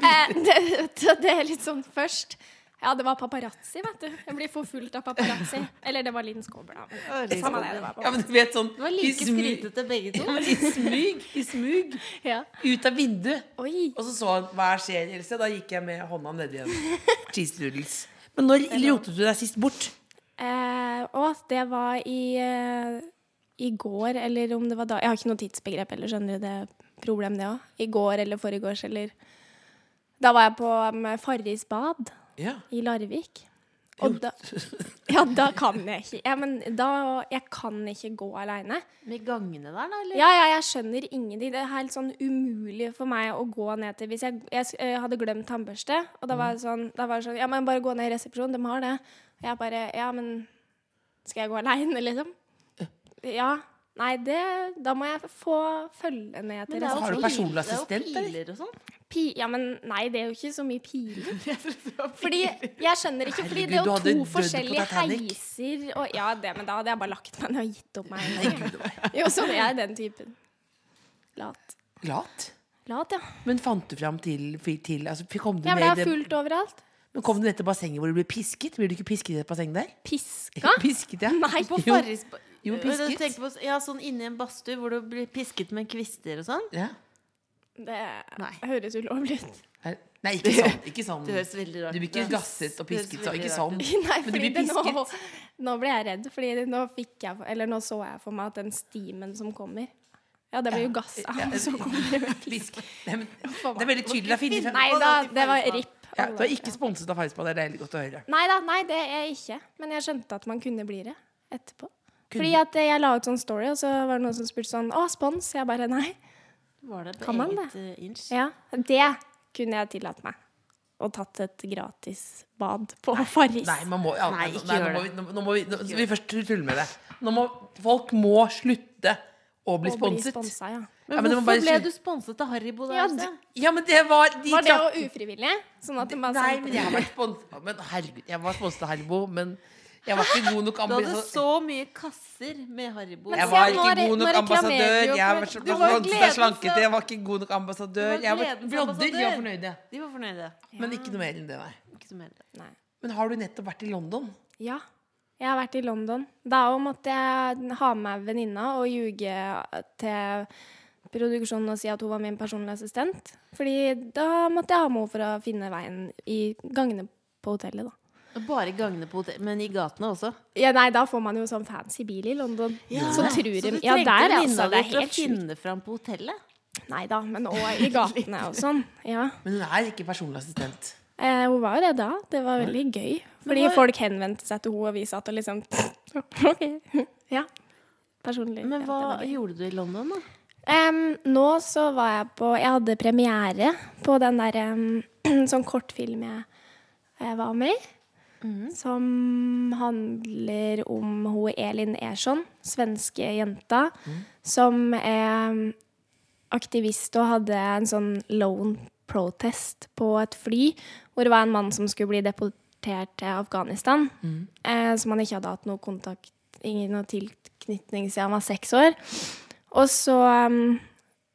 bilde. Eh, det, det, det er litt sånn først Ja, det var paparazzi, vet du. Jeg blir forfulgt av paparazzi. Eller det var Linn Skåber, da. Å, Linn Samme det, Skåber. det var Ja, men du vet sånn Det var i like smug- skrytete begge to. Ja, men I smug, i smug. Ja. Ut av vinduet. Oi. Og så så han hva skjer, Else? Da gikk jeg med hånda nedi igjen. Cheese doodles. Men når rotet du deg sist bort? Eh, og det var i eh, I går, eller om det var da Jeg har ikke noe tidsbegrep eller skjønner du det er problem, det òg. I går eller foregårs eller Da var jeg på um, Farris bad Ja. i Larvik. Og da Ja, da kan jeg ikke. Ja, men da Jeg kan ikke gå aleine. Med gangene der, da? Eller? Ja, ja, jeg skjønner ingenting. Det er helt sånn umulig for meg å gå ned til Hvis jeg, jeg s- eh, hadde glemt tannbørste, og da var det sånn, da var det sånn Ja, men bare gå ned i resepsjonen, de har det. Og jeg bare Ja, men skal jeg gå aleine, liksom? Ja. Nei, det Da må jeg få følge ned Men det til er jo Har du piler- personlig det er jo assistent, eller? Piler og sånn. Pi, ja, men nei, det er jo ikke så mye piler. Fordi jeg skjønner ikke, fordi det Herregud, er du jo hadde to dødd på forskjellige Titanic. heiser og Ja, det, men da hadde jeg bare lagt meg ned og gitt opp meg. en gang. Gud, det var Jo, sånn er jeg den typen. Lat. Lat. Lat, ja. Men fant du fram til, til altså, kom, du Jeg ned, ble i det- fullt overalt. men kom du ned til bassenget hvor du ble pisket? Blir du ikke pisket i det bassenget der? Piska? Pisket, ja. Nei. På Jo. Farris Jo, Øh, pisket. jeg tenker På, ja, sånn inni en badstue hvor du blir pisket med kvister og sånn. ja. Det Nei. høres ulovlig ut. Her- Nei, ikke sånn. Ikke sånn. Det høres veldig rart Du blir ikke ut. gasset og Det høres pisket, så veldig ikke rart sånn. ut. Nei, Men du fordi blir det nå, pisket. nå ble jeg redd, fordi nå fikk jeg Eller nå så jeg for meg at den stimen som kommer Ja, det blir jo gass av, Ja. og så kommer det med pisk Pisk. Nei, men, på det er meg. veldig tydelig. Det er fint. Nei da, det var RIP. Ja, du er ikke sponset av Farrisbad. Det er deilig godt å høre. Nei da, nei, det er jeg ikke. Men jeg skjønte at man kunne bli det etterpå. Kunne- Fordi at eh, jeg la ut sånn story, og så var det noen som spurte sånn Å, spons? Jeg bare nei. Var det på Kan man eget eh, inch? Ja, det kunne jeg tillatt meg. Og tatt et gratis bad på Farris. Nei, man må, ja, Nei, nå- ikke nei, gjør nå må vi, nå, nå må vi, nå, vi først tulle med det. Nå må, folk må slutte å bli Og bli sponset. sponsa, ja. Men Ja, men det må hvorfor bare ble slutte. du sponset av Haribo der? Ja, Else? du- Ja, men det var de Var det trakk- jo ufrivillig? Sånn at det bare Nei, sånn- men jeg har vært sponset Men herregud, jeg var sponset av Herbo, men jeg var ikke god nok Du hadde ambassadør. så mye kasser med Haribo. Jeg se, var nå ikke re- god nå nok reklamerer ambassadør. du jo Jeg for- var så- Du var var gledens- slankete, jeg var ikke god nok Du ambassadør. var Jeg var gledens blodder, de var ambassadør. fornøyde. De var fornøyde. Men ikke noe mer enn det, nei. Ikke så mer. Nei. Men har du nettopp vært i London? Ja. Jeg har vært i London. Da òg måtte jeg ha med meg venninna og ljuge til produksjonen og si at hun var min personlige assistent. Fordi da måtte jeg ha med henne for å finne veien i gangene på hotellet, da. Bare i gangene på hotell, men i gatene også. Ja, nei, da får man jo sånn fancy bil i London. så tror du de trengte Ja, der, altså. venninna Det er di til å helt sjukt. finne fram på hotellet? Nei da, men òg i gatene og sånn. Ja. Men hun er ikke personlig assistent. Eh, hun var jo det da. Det var veldig gøy. Fordi hva- folk henvendte seg til henne, og vi satt og liksom OK. Ja. Personlig. Men ja, hva det var gøy. gjorde du i London, da? Em, nå så var jeg på Jeg hadde premiere på den der em, sånn kortfilm jeg, eh, var med i. Som handler om hun Elin Ersson, svenske jenta, som er aktivist og hadde en sånn lone protest på et fly, hvor det var en mann som skulle bli depo deportert til Afghanistan. Eh, som han ikke hadde hatt noe kontakt, ingen noe tilknytning siden han var seks år. Og så em,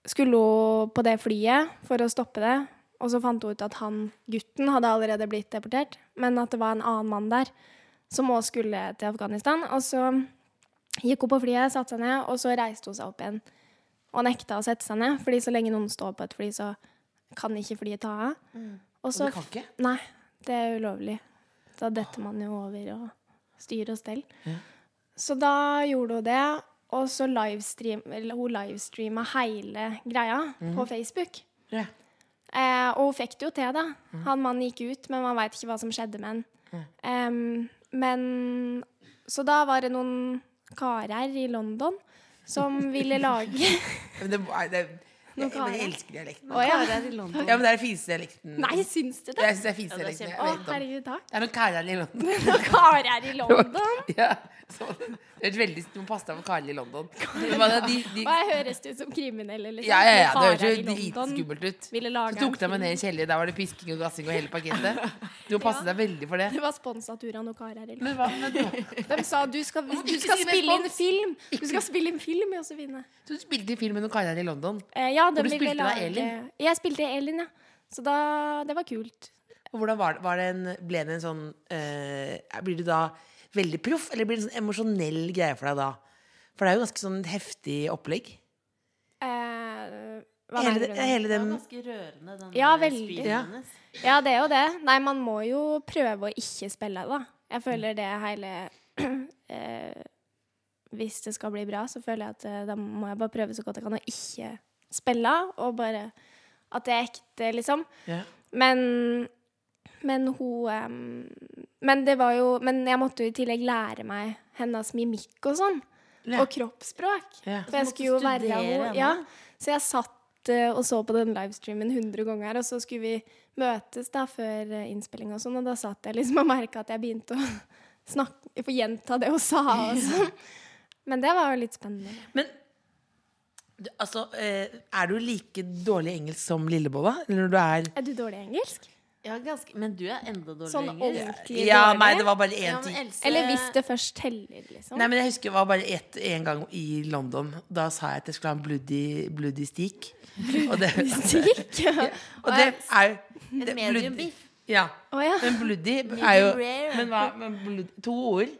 skulle hun på det flyet for å stoppe det. Og så fant hun ut at han gutten hadde allerede blitt deportert, men at det var en annen mann der som òg skulle til Afghanistan. Og så gikk hun på flyet, satte seg ned, og så reiste hun seg opp igjen. Og nekta å sette seg ned, fordi så lenge noen står på et fly, så kan ikke flyet ta av. Og så det Mm. kan ikke? Nei, det er ulovlig. Da detter man jo over og styrer og stell. Så da gjorde hun det, og så livestream, eller hun livestreama hele greia Mhm. på Facebook. Ja. Eh, og hun fikk det jo til, da. Mm. Han mannen gikk ut, men man veit ikke hva som skjedde med han. Em, men Så da var det noen karer i London som ville lage Men det, nei, det, jeg, karer. men jeg elsker dialekten. Å ja. Karer i London. Ja, men det er den fineste dialekten. Nei, syns du det? Jeg syns det er fineste Ja, det er dialekten jeg Å, vet om. herregud, takk. Det er noen karer i London. Noen karer i London. Ja, så, det er veldig, du må passe deg for karer i London. Men bare de, de, Og jeg høres det ut som kriminell? Liksom. ja, ja, ja, det Karer høres jo i London dritskummelt ut. ville Så lage tok de en meg film. ned i en kjeller. Der var det pisking og gassing og hele pakettet. Du må passe deg veldig for det. Det var sponsa av Turan og Karer. eller? Men hva, men, De sa du skal, du skal si spille inn respons. film! Du skal spille inn film i Josefine. du spilte i film med noen karer i London. Eh, ja, de du ville spilte da lage- Elin? Jeg spilte Elin, ja. Så da Det var kult. Og hvordan var det, var det en, ble det en sånn eh, Blir du da veldig proff, eller blir det en sånn emosjonell greie for deg da? For det er jo ganske sånn heftig opplegg. Eh, hva Hele, mener du det- nå? hele Det den var ganske rørende, den Ja, der veldig. spyen Ja. hennes. Ja, det er jo det. Nei, man må jo prøve å ikke spille, da. Jeg føler det hele eh, Hvis det skal bli bra, så føler jeg at eh, da må jeg bare prøve så godt jeg kan å ikke spille, og bare at det er ekte, liksom. ja. Men men hun em, Men det var jo Men jeg måtte jo i tillegg lære meg hennes mimikk og sånn. Ja. Og kroppsspråk. Ja. For jeg måtte skulle jo være studere henne. henne. Ja. Så jeg satt eh, og så på den livestreamen 100 ganger, og så skulle vi møtes da før eh, innspilling og sånn, og da satt jeg liksom og merka at jeg begynte å snakke Få gjenta det hun sa og sånn. Men det var jo litt spennende. Men du, altså, eh, er du like dårlig i engelsk som Lillebolla? Eller når du er Er du dårlig i engelsk? Ja, ganske, men du er enda dårligere Sånn engelsk. ordentlig Ja, dårlig? nei, det var bare Ja, én men ting. Else- Eller hvis det først teller, liksom. Nei, men jeg husker Det var bare ett- en gang i London. Da sa jeg at jeg skulle ha en bloody, bloody steak. Og det, Stikk? og det er jo det- medium bloody- beef. Ja. Å ja. Men bloody er jo rare. Men hva men blood, To ord.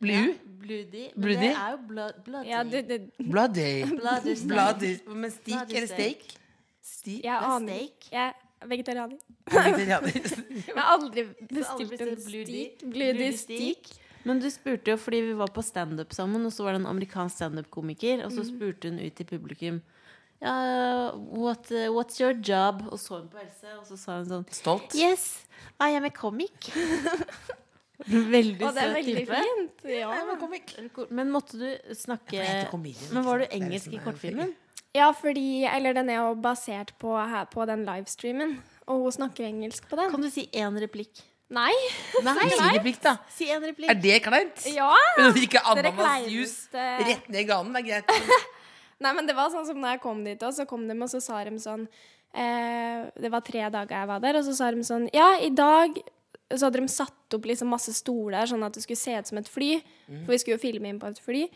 Blue. Bloody. Men Bloody? det er jo blood, bloody. ja det, det, Bloody. Bloody steak. bloody. Men steak Bloody eller steak. steak? Steak. jeg aner steak. ikke. Jeg er vegetarianer. Vegetarianer. Jeg har aldri aldri bestilt en bestilt bloody- sånn, stik. bloody Bloody steak. stik. Men du spurte jo fordi vi var på standup sammen, og så var det en amerikansk standup-komiker, og så spurte hun ut til publikum ja, what, eh, What's your job? Og så hun på Else, og så sa hun sånn Stolt. Yes, I am a comic. veldig Og det er søt veldig type. fint. Ja. Nei, men kom ikke. Men måtte du snakke Jeg heter comedian, Men var du ikke sant? Det er engelsk liksom- i kortfilmen? ja, fordi Eller den er jo basert på, her, på den livestreamen. Og hun snakker engelsk på den. Kan du si én replikk? Nei! Nei, si replikk, da. Si én Er replikk. det kleint? Ja! Men å drikke Dere eh, ananasjuice kleineste- rett ned i ganen er greit. Nei, men det var sånn som da jeg kom dit også, så kom de og så sa de sånn eh, Det var tre dager jeg var der, og så sa de sånn Ja, i dag så hadde de satt opp liksom masse stoler sånn at det skulle se ut som et fly. Mhm. For vi skulle jo filme inn på et fly.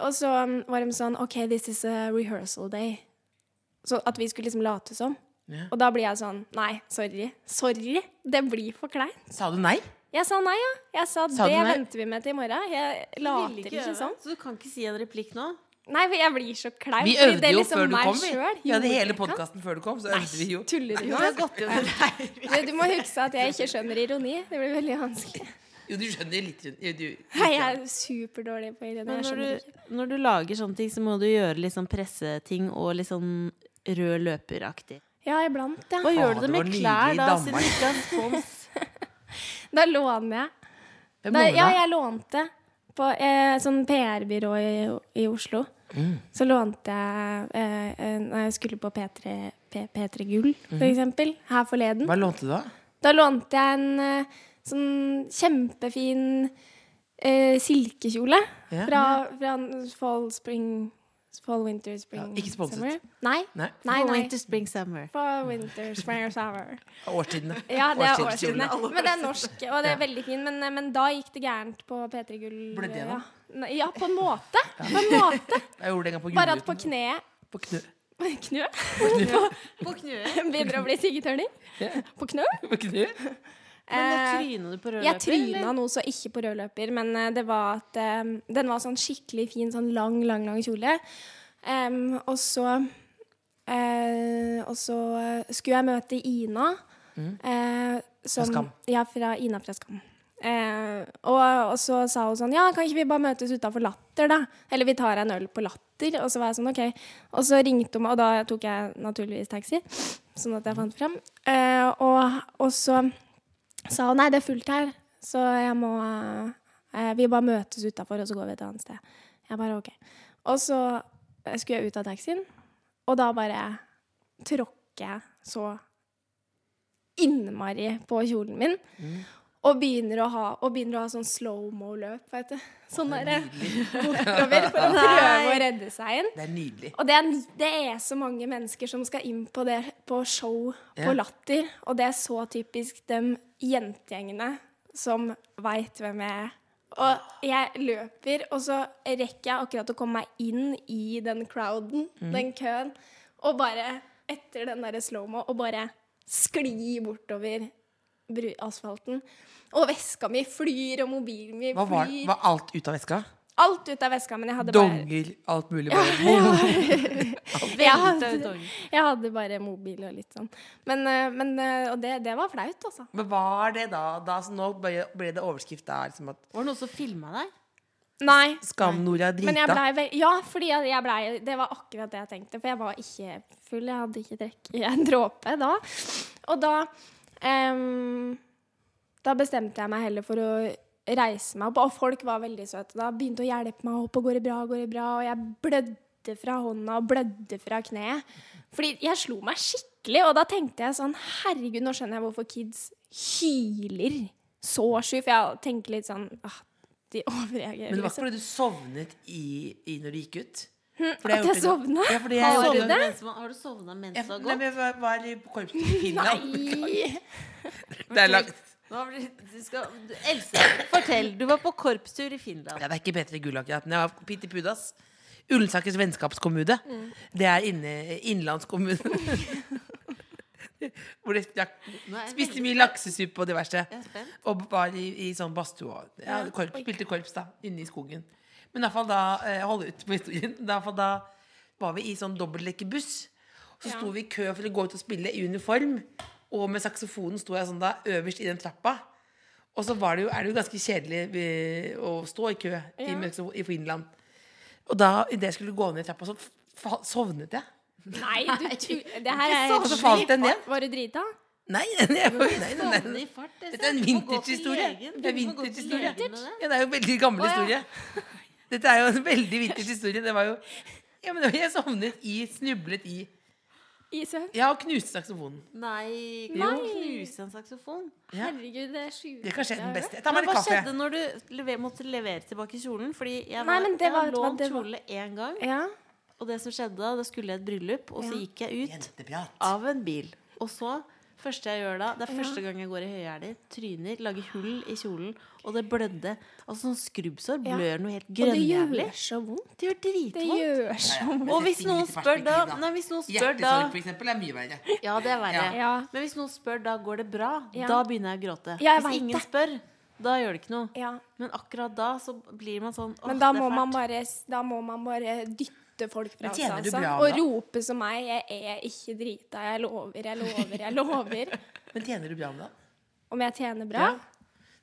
Og så um, var de sånn OK, this is a rehearsal day. Så at vi skulle liksom late som. Og da blir jeg sånn Nei, sorry. Sorry. Det blir for kleint. Sa du nei? Jeg sa nei, ja. Jeg sa, Sa du det nei? venter vi med til i morgen. Jeg Ville later ikke øve. sånn. Så du kan ikke si en replikk nå? Nei, for jeg blir så klein. Vi fordi det øvde er jo liksom før du meg kom. Vi, selv. vi hadde Gjorde hele jeg ikke? podkasten før du kom, så øvde vi jo. Tuller du Du med har meg? gått gjennom det. Du, du må huske at jeg ikke skjønner ironi. Det blir veldig vanskelig. Jo, du skjønner litt. jo, du- Nei, jeg er superdårlig på ironi. Men Jeg når skjønner du, ikke. når du lager sånne ting, så må du gjøre litt sånn presseting og litt sånn rød løperaktig. Ja, iblant, Hva ja. gjør du det var med nydelig klær i da, siden Danmark. du ikke har spons? Da låner jeg. Hvem Da, låner ja, deg? jeg lånte på eh, sånn PR-byrå i, i Oslo. Mm. Så lånte jeg eh, eh, når jeg skulle på P3, P, P3 Gull, for Mhm. eksempel, her forleden. Hva lånte du, da? Da lånte jeg en eh, sånn kjempefin eh, silkekjole Ja. fra, fra en Fall Spring Fall, winter, spring, Ja, ikke sponset. summer. Nei. Nei. nei, Fall, nei. winter, spring, summer. Fall, winter, spring, summer. Årstidene. Ja, det er Årstidskjolene. årsidene. Men det er norsk, og det er veldig fint. Men, men da gikk det gærent på P3 Gull. eh, Ble det da? Ja. Nei, ja, på en måte. På en måte. Jeg gjorde det en gang på Bare at på Gullruten. kneet På knø. Knø? På knuet. Begynner å bli siggetørning. På knø? På knø? Men Eh, tryna du på rød Jeg løper? tryna eller? noe så ikke på rød løper, men eh, det var at eh, den var sånn skikkelig fin, sånn lang, lang, lang kjole. Em, og så eh, Og så skulle jeg møte Ina. eh, som, Skam. Ja, fra Ina fra Skam. Eh, og, og så sa hun sånn Ja, kan ikke vi bare møtes utafor Latter, da? Eller vi tar en øl på Latter. Og så var jeg sånn, OK. Og så ringte hun meg, og da tok jeg naturligvis taxi, sånn at jeg fant fram. Eh, og, og så sa hun nei, det er fullt her, så jeg må eh, Vi bare møtes utafor, og så går vi et annet sted. Jeg bare OK. Og så eh, skulle jeg ut av taxien, og da bare tråkker jeg så innmari på kjolen min. Og begynner, å ha, og begynner å ha sånn slow mo-løp, vet du. Sånn derre bortover for å prøve å redde seg inn. Det er nydelig. Og det er, det er så mange mennesker som skal inn på det på show på Ja. Latter. Og det er så typisk de jentegjengene som veit hvem jeg er. Og jeg løper, og så rekker jeg akkurat å komme meg inn i den crowden, Mm. den køen. Og bare etter den derre slow-mo, og bare skli bortover bru- asfalten. Og veska mi flyr, og mobilen min Hva var, flyr. var alt ute av veska? Alt ut av veska, men jeg hadde bare Donger, alt mulig. Bare. jeg Velta ut hadde, ungen. jeg hadde bare mobil og litt sånn. Men, eh, men eh, Og det, det var flaut, altså. Men var det da, da så Nå ble ble det overskrift da liksom at Var det noen som filma deg? Nei. Skam Nora er Men jeg drita. blei vel Ja, fordi jeg, jeg blei Det var akkurat det jeg tenkte. For jeg var ikke full. Jeg hadde ikke drukket en dråpe da. Og da em, Da bestemte jeg meg heller for å reise meg opp. Og folk var veldig søte. Da begynte å hjelpe meg opp. Og går det bra, går det bra? Og jeg blødde fra hånda og blødde fra kneet. Fordi jeg slo meg skikkelig, og da tenkte jeg sånn Herregud, nå skjønner jeg hvorfor kids hyler så sjukt. For jeg tenker litt sånn ah, De overreagerer. Men det var liksom. ikke fordi du sovnet i, i når du gikk ut? Fordi at jeg gjorde det- sovnet? Ja, fordi jeg Har du, sovnet. mens man, har du sovna mens Jeg, du har nei, gått? men jeg var, var i korpset i Finland. Nei. Det er langt. Nå blir, du skal, du, Else, fortell. Du var på korpstur i Finland. Ja, det er ikke P3 Gull akkurat, men jeg har Pitti Pudas. Ullensaker vennskapskommune. Det er inne, innlandskommune. Hvor det stakk Nå er jeg Spiste veldig- mye laksesuppe og diverse. Jeg er spent. Og var i, i sånn badstue. og- Ja, korps, spilte korps, da. Inne i skogen. Men iallfall da eh, Hold ut på historien. I hvert fall da var vi i sånn dobbeltdekkerbuss. Så sto vi i kø for å gå ut og spille i uniform. Og med saksofonen sto jeg sånn da øverst i den trappa. Og så var det jo, er det jo ganske kjedelig eh, å stå i kø i, Mexico- i Finland. Og da, idet jeg skulle gå ned trappa, så fa sovnet jeg. Nei, du tu- Det her er Og så falt jeg ned. Var du drita? Nei, nei, nei, nei, nei, Sovne nei. i fart, Else. Dette er Du en må gå til vintagehistorie. legen. Det er Du må gå til vintagehistorie. legen med det. Ja, det er jo en veldig gammel historie. Dette er jo en veldig vintage historie. Det var jo ja, men Jeg sovnet i, snublet i I søvn? Ja, og knuste saksofonen. Nei, kan Jo. man knuse en saksofon? Ja. Herregud, det er sjukt. Det er kanskje den beste. Jeg tar Men meg hva litt kaffe. skjedde når du lever, måtte levere tilbake kjolen? Fordi jeg, Nei, var, men det jeg var- har det var- lånt det var- kjole én gang. Ja. Og det som skjedde da, da skulle jeg i et bryllup, og så gikk jeg ut Jenteprat. av en bil. Og så, første jeg gjør da, det er første gang jeg går i høyhæler, tryner, lager hull i kjolen, og det blødde. Altså sånn skrubbsår Ja. blør noe helt Og det grønnjævlig. gjør så vondt. Det gjør Det dritvondt. gjør så vondt. Og hvis noen spør da Nei, hvis noen spør da Hjertesorg, for eksempel, er mye verre. Ja, det er verre. Ja. Ja. Men hvis noen spør da går det bra, Ja. da begynner jeg å gråte. Ja, jeg hvis vet ingen det. spør, da gjør det ikke noe. Ja. Men akkurat da så blir man sånn Åh, Men da det er må, fælt. man bare, da må man bare dytte folk fra Men seg. tjener du altså. bra Og da? rope som meg. Jeg er ikke drita. Jeg lover, jeg lover, jeg lover. Men tjener du bra med det? Om jeg tjener bra?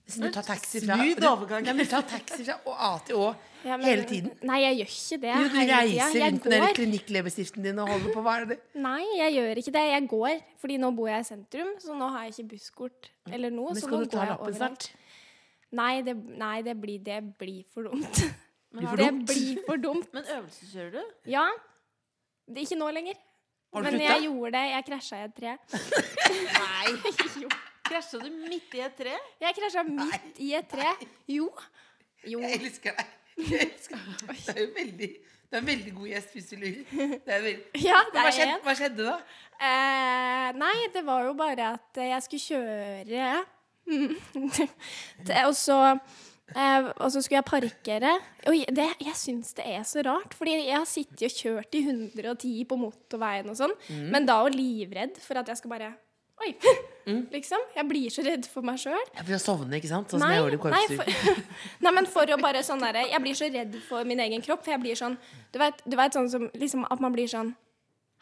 Siden du tar taxi fra Smooth du- overgang. Ja, men du tar taxi fra A til Å Ja, men- hele tiden. Nei, jeg gjør ikke det. Jo, du hele tida. reiser Jeg rundt med den går. klinikkleppestiften din og holder på. Hva er det? Nei, jeg gjør ikke det. Jeg går. Fordi nå bor jeg i sentrum, så nå har jeg ikke busskort eller noe. Men så skal nå du ta går jeg lappen overalt. snart? Nei, det, nei det, blir, det blir for dumt. Blir for det dumt? blir for dumt. Men øvelseskjører du? Ja. Det, ikke nå lenger. Har du Men slutta? jeg gjorde det. Jeg krasja i et tre. Nei. Jo. Krasja du midt i et tre? Jeg krasja midt i et tre. Jo. Jo. Jeg elsker deg. Det er jo veldig Du er en veldig god gjest hvis du lurer. Det er veldig... Ja, det Hva, er skjedde, en. hva skjedde da? Eh, nei, det var jo bare at eh, jeg skulle kjøre. Mm. Det- og så eh, og så skulle jeg parkere. Og jeg- det, jeg syns det er så rart, Fordi jeg har sittet og kjørt i 110 på motorveien og sånn, men da og livredd for at jeg skal bare Oi! Liksom. Jeg blir så redd for meg sjøl. Ja, for å sovne, ikke sant? Sånn som Nei, jeg gjorde i nei, korpsstyrken. for, nei, men for å bare sånn derre Jeg blir så redd for min egen kropp, for jeg blir sånn Du vet, du vet sånn som liksom At man blir sånn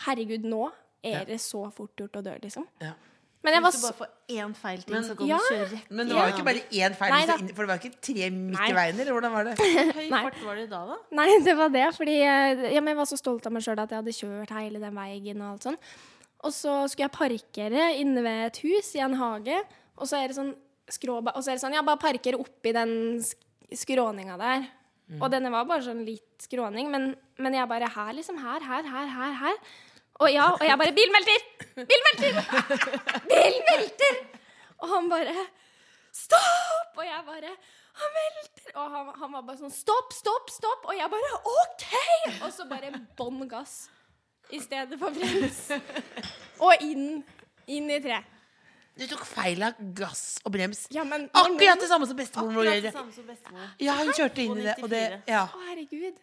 Herregud, nå er det så fort gjort å dø, liksom. Ja. Men jeg var Hvis du så bare får én feil ting, Men- så kan Ja. du kjøre rett Men det var jo ikke bare én feil, Nei da. for det var ikke tre midt Nei. i veien, eller hvordan var det? Hvor høy Nei. fart var det da, da? Nei, det var det, fordi eh, ja, men jeg var så stolt av meg sjøl at jeg hadde kjørt hele den veien og alt sånn. Og så skulle jeg parkere inne ved et hus i en hage, og så er det sånn skråba, Og så er det sånn Ja, bare parker oppi den sk- skråninga der. Og denne var bare sånn litt skråning, men, men jeg bare Her, liksom. Her, her, her, her. her. Og ja, og jeg bare Bilmelter! Bilmelter! Bilmelter! Og han bare Stopp! Og jeg bare Han velter! Og han, han var bare sånn Stopp, stopp, stopp! Og jeg bare OK! Og så bare bånn gass i stedet for brems. Og inn. Inn i tre. Du tok feil av gass og brems. Ja, men Akkurat det samme som bestemoren vår Akkurat det gjorde. samme som bestemor. Ja, hun kjørte inn i det, og det ja. Å, herregud.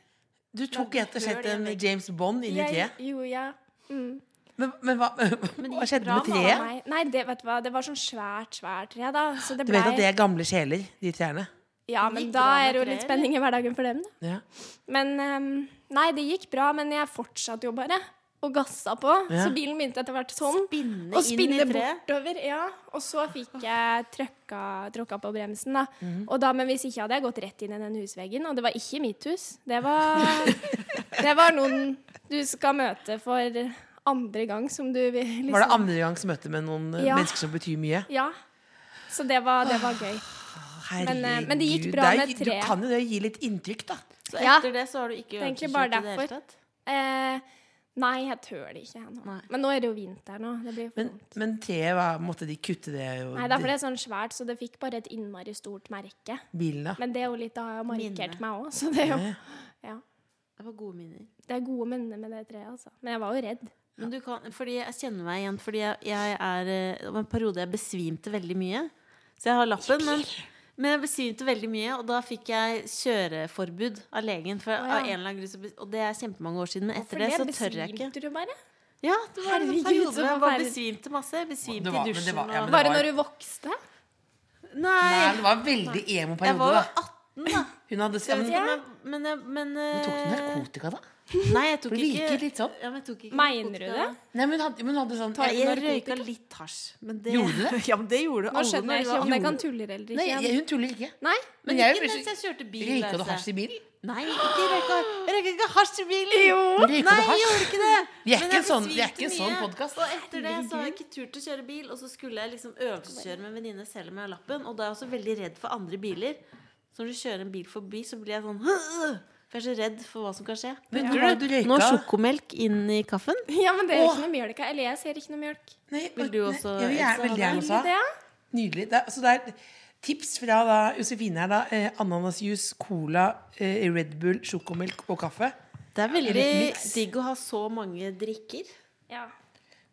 Du tok rett og slett en James Bond inn i Jeg, treet. jo, ja. Mm. Men, men hva, det hva gikk skjedde med bra med treet? Nei, nei, det vet du hva, det var sånn svært, svært tre, da. Så det Du blei vet at det er gamle sjeler, de trærne. Ja, men Gikk da bra med er det jo tre, litt spenning i hverdagen for dem, da. Ja. Men ehm, Nei, det gikk bra, men jeg fortsatte jo bare. Og gassa på. Ja. Så bilen begynte etter hvert sånn. Spinne Og inn spinne i treet. bortover, ja. Og så fikk jeg trøkka, tråkka på bremsen, da. Mhm. Og da, men hvis ikke hadde jeg gått rett inn i den husveggen, og det var ikke mitt hus. Det var, det var noen du skal møte for andre gang, som du vil liksom. Var det andre gangs møte med noen eh, Ja. mennesker som betyr mye? Ja. Så det var, det var gøy. Herregud. Men, eh, men det gikk bra er- med treet. Du kan jo det gi litt inntrykk, da. Så Ja. etter det så har du ikke er egentlig øvelseskjørt bare i det hele derfor. tatt? Eh, nei, jeg tør det ikke ennå. Nei. Men nå er det jo vinter nå. Det blir for Men, vondt. men treet, hva, måtte de kutte det? og- Nei, derfor er det sånn svært, så det fikk bare et innmari stort merke. Bilen, da. Men det er jo litt, da har jeg markert Minne. meg òg, så det er jo Ja, ja. Det var gode minner. Det er gode minner med det treet, altså. Men jeg var jo redd. Men du kan, fordi jeg kjenner meg igjen, fordi jeg, jeg er eh, Det var en periode jeg besvimte veldig mye. Så jeg har lappen, men, men jeg besvimte veldig mye. Og da fikk jeg kjøreforbud av legen. For, Å, ja. av en eller annen grunn, så bes- og det er kjempemange år siden, men etter det, så tør jeg ikke. besvimte du bare. Ja, det var en sånn Herregud, periode så hvor jeg bare forferdelig. besvimte masse. Jeg Det Besvimte i var- men det dusjen var- ja, men og det Bare var- når du vokste. Nei, Nei! det var en veldig emo-periode, Jeg var jo da. 18, da. Hun hadde Jeg vet ja, ikke om jeg Men, jeg, men men Tok du eh, narkotika, da? Nei, jeg tok For det ikke virket litt sånn. Ja, men jeg tok ikke Mener du narkotika. det? Nei, men hun hadde, men hun hadde sånn Jeg, jeg, røyka litt hasj. Men det, Gjorde du Ja, men det gjorde Nå alle skjønner jeg når vi var ikke om jeg unge. kan tulle eller ikke. Nei, igjen. jeg, hun tuller ikke. Nei? Men Men jeg ikke vil- mens jeg kjørte bil. Røyka du Lasse. hasj i bilen? Nei, ikke røyka Jeg røyka ikke hasj i bilen! Men røyka du Nei, hasj? jeg gjorde ikke det. Vi Men er ikke jeg en sånn, vi er besvimte ikke en sånn mye. podkast. Og etter det så har jeg ikke turt å kjøre bil, og så skulle jeg liksom øvelseskjøre med en venninne selv om jeg har lappen. Og da er jeg også veldig redd for andre biler. Så når du kjører en bil forbi, så blir jeg sånn «Åh!» For jeg er så redd for hva som kan skje. Men tror du du røyka Nå sjokomelk inn i kaffen. Ja, men det er Åh. ikke noe mjølk her. Eller jeg ser ikke noe mjølk. Nei, Vil du også, Jeg vil gjerne, Else, ha veldig gjerne det? også. ha. Det, ja. Nydelig. Det, er- så det er tips fra da, Josefine her, da. Eh, Ananasjuice, cola, eh, Red Bull, sjokomelk og kaffe. Det er veldig En miks. digg å ha så mange drikker. ja.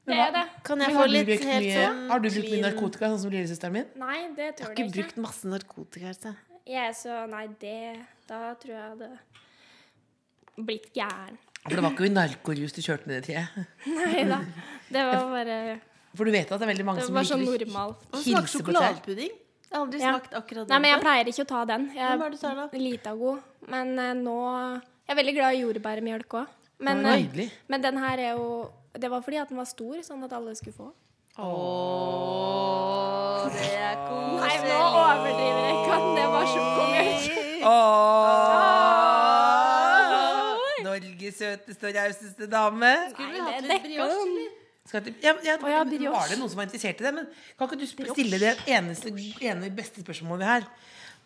Men Det hva- er det. Kan Men jeg få har du litt brukt helt mye, sånn Har du brukt mye clean- narkotika, sånn som lillesøsteren min? Nei, det Jeg tør har jeg ikke ikke. brukt masse narkotika. Altså. Jeg er så Nei, det Da tror jeg det blitt gæren. For det var ikke jo narkorus du kjørte ned i treet. Nei da. Det var bare For du vet at det er veldig mange Det som var sånn liker normalt. Og Hilse smaker på sjokoladepudding. Jeg har aldri Ja. smakt akkurat det. Nei, men jeg pleier ikke å ta den. Hva Jeg er det du tar da? Lita god. Men eh, nå Jeg er veldig glad i jordbærmjølk òg. Men, Å, eh, nydelig. men den her er jo Det var fordi at den var stor, sånn at alle skulle få. Åh, det er koselig. Nei, nå overdriver jeg ikke at det var sjokomjølk. Åh! Norges søteste og rauseste dame. Skulle Nei, vi hatt det litt dekker brioche, den. eller? Skal til, ja, ja, ja, men brioche. var det noen som var interessert i det? Men kan ikke du sp- stille det eneste, ene beste spørsmålet vi har?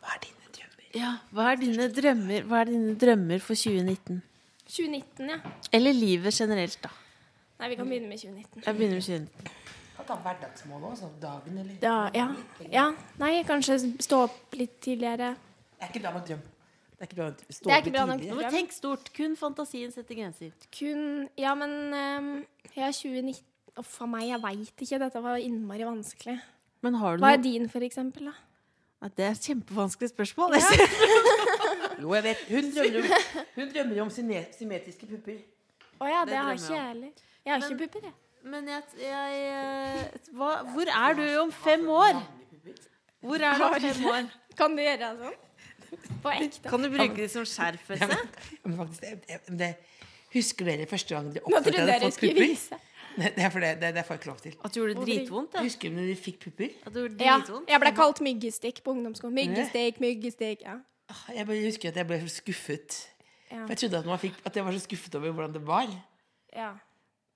Hva er dine drømmer? Ja, hva er dine drømmer Hva er dine drømmer for 2019? 2019, ja. Eller livet generelt, da. Nei, vi kan begynne med 2019. Jeg begynner med 2019. Kan ta hverdagsmål også, sånn dagen eller Da, ja. ja. Nei, kanskje stå opp litt tidligere. Det er ikke dagens drøm. Det er ikke bra, Det er ikke bra nok. Nå må tenk stort. Kun fantasien setter grenser. Kun Ja, men ehm, jeg er 2019 Uff a meg, jeg veit ikke. Dette var innmari vanskelig. Men har du Hva noe er din, for eksempel? da? Nei, Det er et kjempevanskelig spørsmål. Ja. Jo, jeg vet. Hun drømmer om, hun drømmer om syne- symmetriske pupper. Å Det ja, det, har drømmer ikke jeg jeg heller. Jeg har Men- ikke pupper, jeg. Men jeg, jeg eh, hva, Hvor er du om fem år? Hvor er du om fem år? Kan du gjøre det sånn? På ekte. Kan du bruke de som skjerf? Ja, Else? men, men faktisk, jeg, jeg, men det, husker dere første gang dere Nå oppførte trodde dere jeg hadde fått dere skulle pupper? vise. Nei, Det er for det, det, det får jeg ikke lov til. At du gjorde det dritvondt? Ja. Husker dere når dere fikk pupper? At du gjorde det Ja, dritvondt? jeg ble kalt myggestikk på ungdomsskolen. Myggestikk, myggestikk. Ja. Ah, Jeg bare husker at jeg ble så skuffet. Ja. For jeg trodde at, man fikk, at jeg var så skuffet over hvordan det var. ja.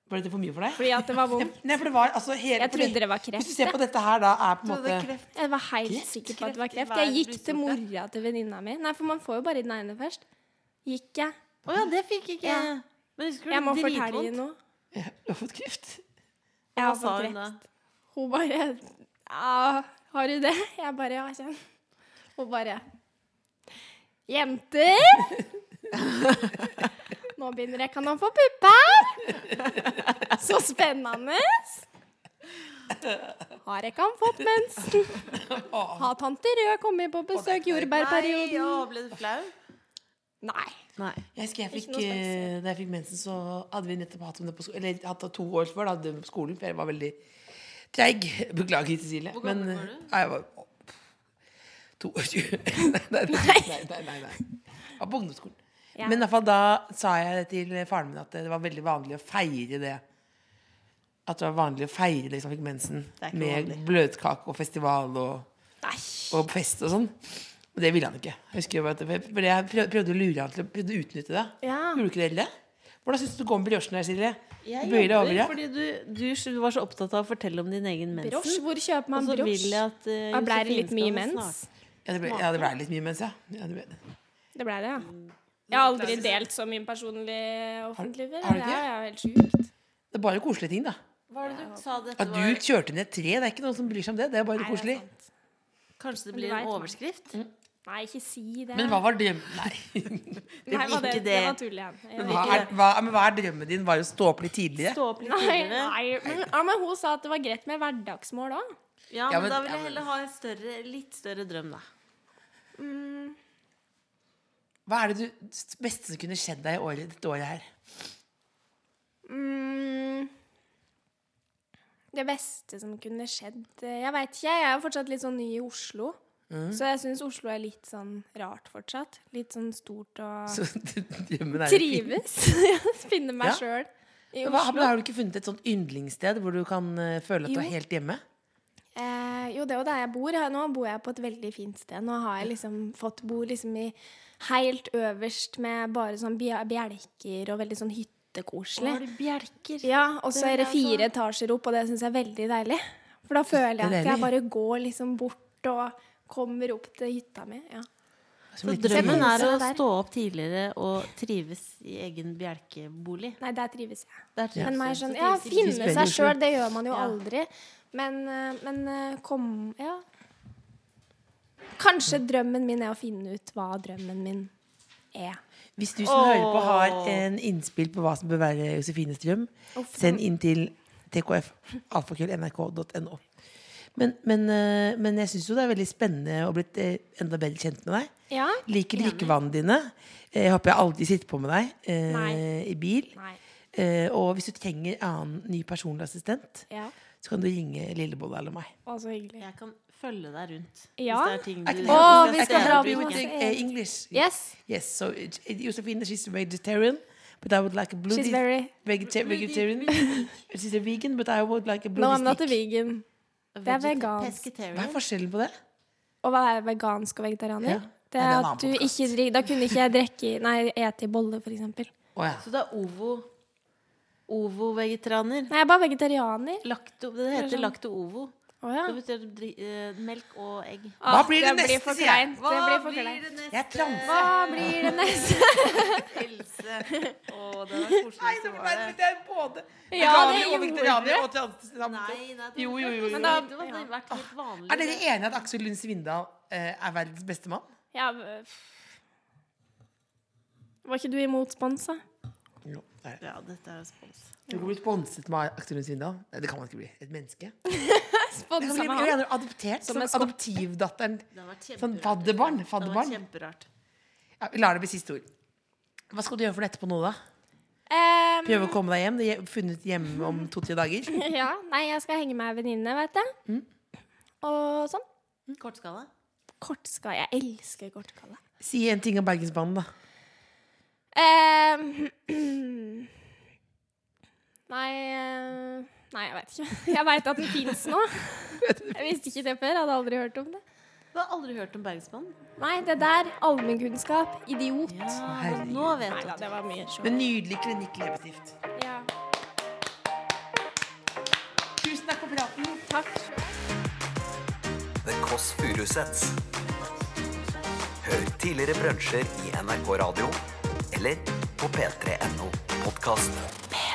Var dette for mye for deg? Fordi at det var vondt. Nei, for det var altså hele, Jeg fordi- trodde det var kreft, Hvis du ser på dette her, da, er på en Du hadde måte kreft. Jeg var helt Kreft? sikker på at det var Kreft i kreft. Jeg hver gikk til brystvorte. mora til venninna mi. Nei, for man får jo bare i den ene først. Gikk jeg. Å ja, det fikk ikke jeg. Ja. Men husker du Jeg må det var fortelle dritvondt? noe. Du har fått kreft. Jeg Hva har sa fått hun da? kreft. Hun bare ja, 'Har du det?' Jeg bare 'Ja, kjenn'. Hun bare 'Jenter!' Nå begynner jeg. Kan han få pupper? Så spennende! Har ikke han fått mensen? Har tante Rød kommet på besøk Nei, jordbærperioden? å, ble du flau? Nei. Nei. Jeg husker jeg Ikke fikk, noe spesielt. eh, da jeg fikk mensen, så hadde vi nettopp hatt om det på skolen. Eller hatt det to år før, da hadde vi det på skolen, for jeg var veldig treig. Beklager, Cecilie. Hvor gammel men, var du? Nei, jeg var å, pff, 22. nei, nei, nei, nei, nei, nei. Jeg var på ungdomsskolen. Ja. Men i hvert fall da sa jeg det til faren min at det var veldig vanlig å feire det. At det var vanlig å feire det som fikk mensen. Det er ikke Med vanlig. bløtkake og festival og Nei. og fest og sånn. Og det ville han ikke. Jeg husker jo bare at jeg- fordi jeg prøv- prøvde å lure han til å prøvde å utnytte det. Ja. Gjorde ikke dere det? Hvordan syns du det går med briochen her, Silje? Jeg Bøyer det over, jobber ja? fordi du, du, du var så opptatt av å fortelle om din egen Brosj? mensen. Hvor kjøper Og man så vil jeg brosj? at eh, Da ble det Josefine litt skal mye ha mens. Ja, det ble, ja, det ble litt mye mens, ja. ja det ble. det. Det ble det, Mm. ja. Jeg har aldri delt så mye personlig offentlig før. har du Det ikke? er jo helt sjukt. det er bare koselige ting, da. Hva er det du sa dette At du var? kjørte ned et tre, det er ikke noen som bryr seg om det. Det er bare Nei, det er koselig. sant. Kanskje det Men du blir en vet hva. overskrift? Nei, ikke si det. Men hva var drømmen Nei. Nei, hva ikke det, det. det var tull igjen. Jeg Hva vet er, hva, men hva er drømmen din? Var det å stå opp litt tidligere? Stå opp litt ikke. Nei, tidligere? nei. Men, ja, men hun sa at det var greit med hverdagsmål òg. Ja, Ja, men men- da vil ja, jeg men- heller ha en større, litt større drøm, da. Hva er det du, beste som kunne skjedd deg i året, dette året her? Mm. Det beste som kunne skjedd eh, Jeg veit ikke. Jeg er jo fortsatt litt sånn ny i Oslo. Mm. Så jeg syns Oslo er litt sånn rart fortsatt. Litt sånn stort og Så, drømmen er Trives. Finne meg Ja. sjøl i Hva, Oslo. men har du ikke funnet et sånt yndlingssted hvor du kan eh, føle at du er Jo. helt hjemme? Eh, jo, det er jo der jeg bor. Her- Nå bor jeg på et veldig fint sted. Nå har jeg liksom fått bo liksom i helt øverst med bare sånn bje- bjelker og veldig sånn Har hyttekoselig. du bjelker? Ja, og så Det er det er fire sånn- etasjer opp, og det syns jeg er veldig deilig. For da føler jeg at jeg Deilig. bare går liksom bort og kommer opp til hytta mi. Ja. Som Så liten drømmen Sett er å seg der. stå opp tidligere og trives i egen bjelkebolig. Nei, der trives jeg. Der trives Men meg du. sånn, Så ja, trives du ikke. finne spennende, seg sjøl, det gjør man jo Ja. aldri. Men, eh, men eh, kom Ja. Kanskje drømmen min er å finne ut hva drømmen min er. Hvis du som hører på har en innspill på hva som bør være Josefines drøm, Uff. send inn til tkf.nrk.no. Men, men, eh, men jeg syns jo det er veldig spennende å bli eh, enda bedre kjent med deg. Ja? Liker drikkevannene dine. Eh, Jeg håper jeg aldri sitter på med deg eh, Nei. i bil. Nei. Eh, og hvis du trenger annen ny personlig assistent, Ja. så kan du ringe Lillebolla eller meg. Å, så hyggelig. Jeg kan følge deg rundt. Ja. Hvis det er ting Er ikke du det Åh, helt vi bestemt? skal dra We på would masse drink, eh, English. Yes. Yes, so uh, Josefine, she's a vegetarian, but I would like a blue She's dis- very- vegeta- vegetarian. she's a vegan, but I would like a blue No, I'm not a stick. vegan. Det er vegansk. Hva er forskjellen på det? Å være vegansk og vegetarianer? Ja. Det Nei, det er en er annen at du podcast. ikke drikker Da kunne ikke jeg drikke Nei, ete i bolle, for eksempel. Å ja. Så det er ovo. Ovo-vegetarianer. Nei, jeg er bare vegetarianer. Lakto, det heter sånn- lacto-ovo. Å ja. Det betyr dri- eh, melk og egg. Hva Ah, blir det neste, for sier jeg? kleint. Det blir for kleint. neste? Jeg er transe. Hva blir det neste? Else. Å, det var koselig som var det. Det er både Ja, det veganer og gjorde vegetarianer og trans- Nei, samt- nei, det Jo, jo, jo, jo. Men da det hadde vært helt vanlig. Er dere enige at Aksel Lund Svindal eh, er verdens beste mann? Ja, øh, Var ikke du imot spons, da? Jo, det er det. Ja, dette er jo spons. Du kan bli sponset med Aktor Svinda. Nei, det kan man ikke bli. Et menneske. Du kan Sponsa bli du med han. kan bli adoptert som, Som en skott. adoptivdatteren. Det har vært Sånn kjemperart. fadderbarn. Det har vært fadderbarn. kjemperart. Ja, vi lar det bli siste ord. Hva skal du gjøre for det etterpå nå, da? Ehm, Prøve å komme deg hjem? Det er Funnet hjemme om to-tre dager? ja, nei, jeg skal henge med ei venninne, vet jeg. Og sånn. Kortskala. Kortskall. Jeg elsker kortskalle. Si en ting om Bergensbanen, da. Ehm, nei eh, Nei, jeg veit ikke. Jeg veit at den fins nå. Jeg visste ikke det før. Jeg hadde aldri hørt om det. Du har aldri hørt om Bergsbanen? Nei, det der. Allmennkunnskap. Idiot. Ja, herregud. nå vet Neida, du. det var mye sjokk. Med nydelig klinikk leppestift. Ja. Tusen takk for praten. Takk. The Kåss Furuseths. Hør tidligere brunsjer i NRK Radio eller på p3.no podkast.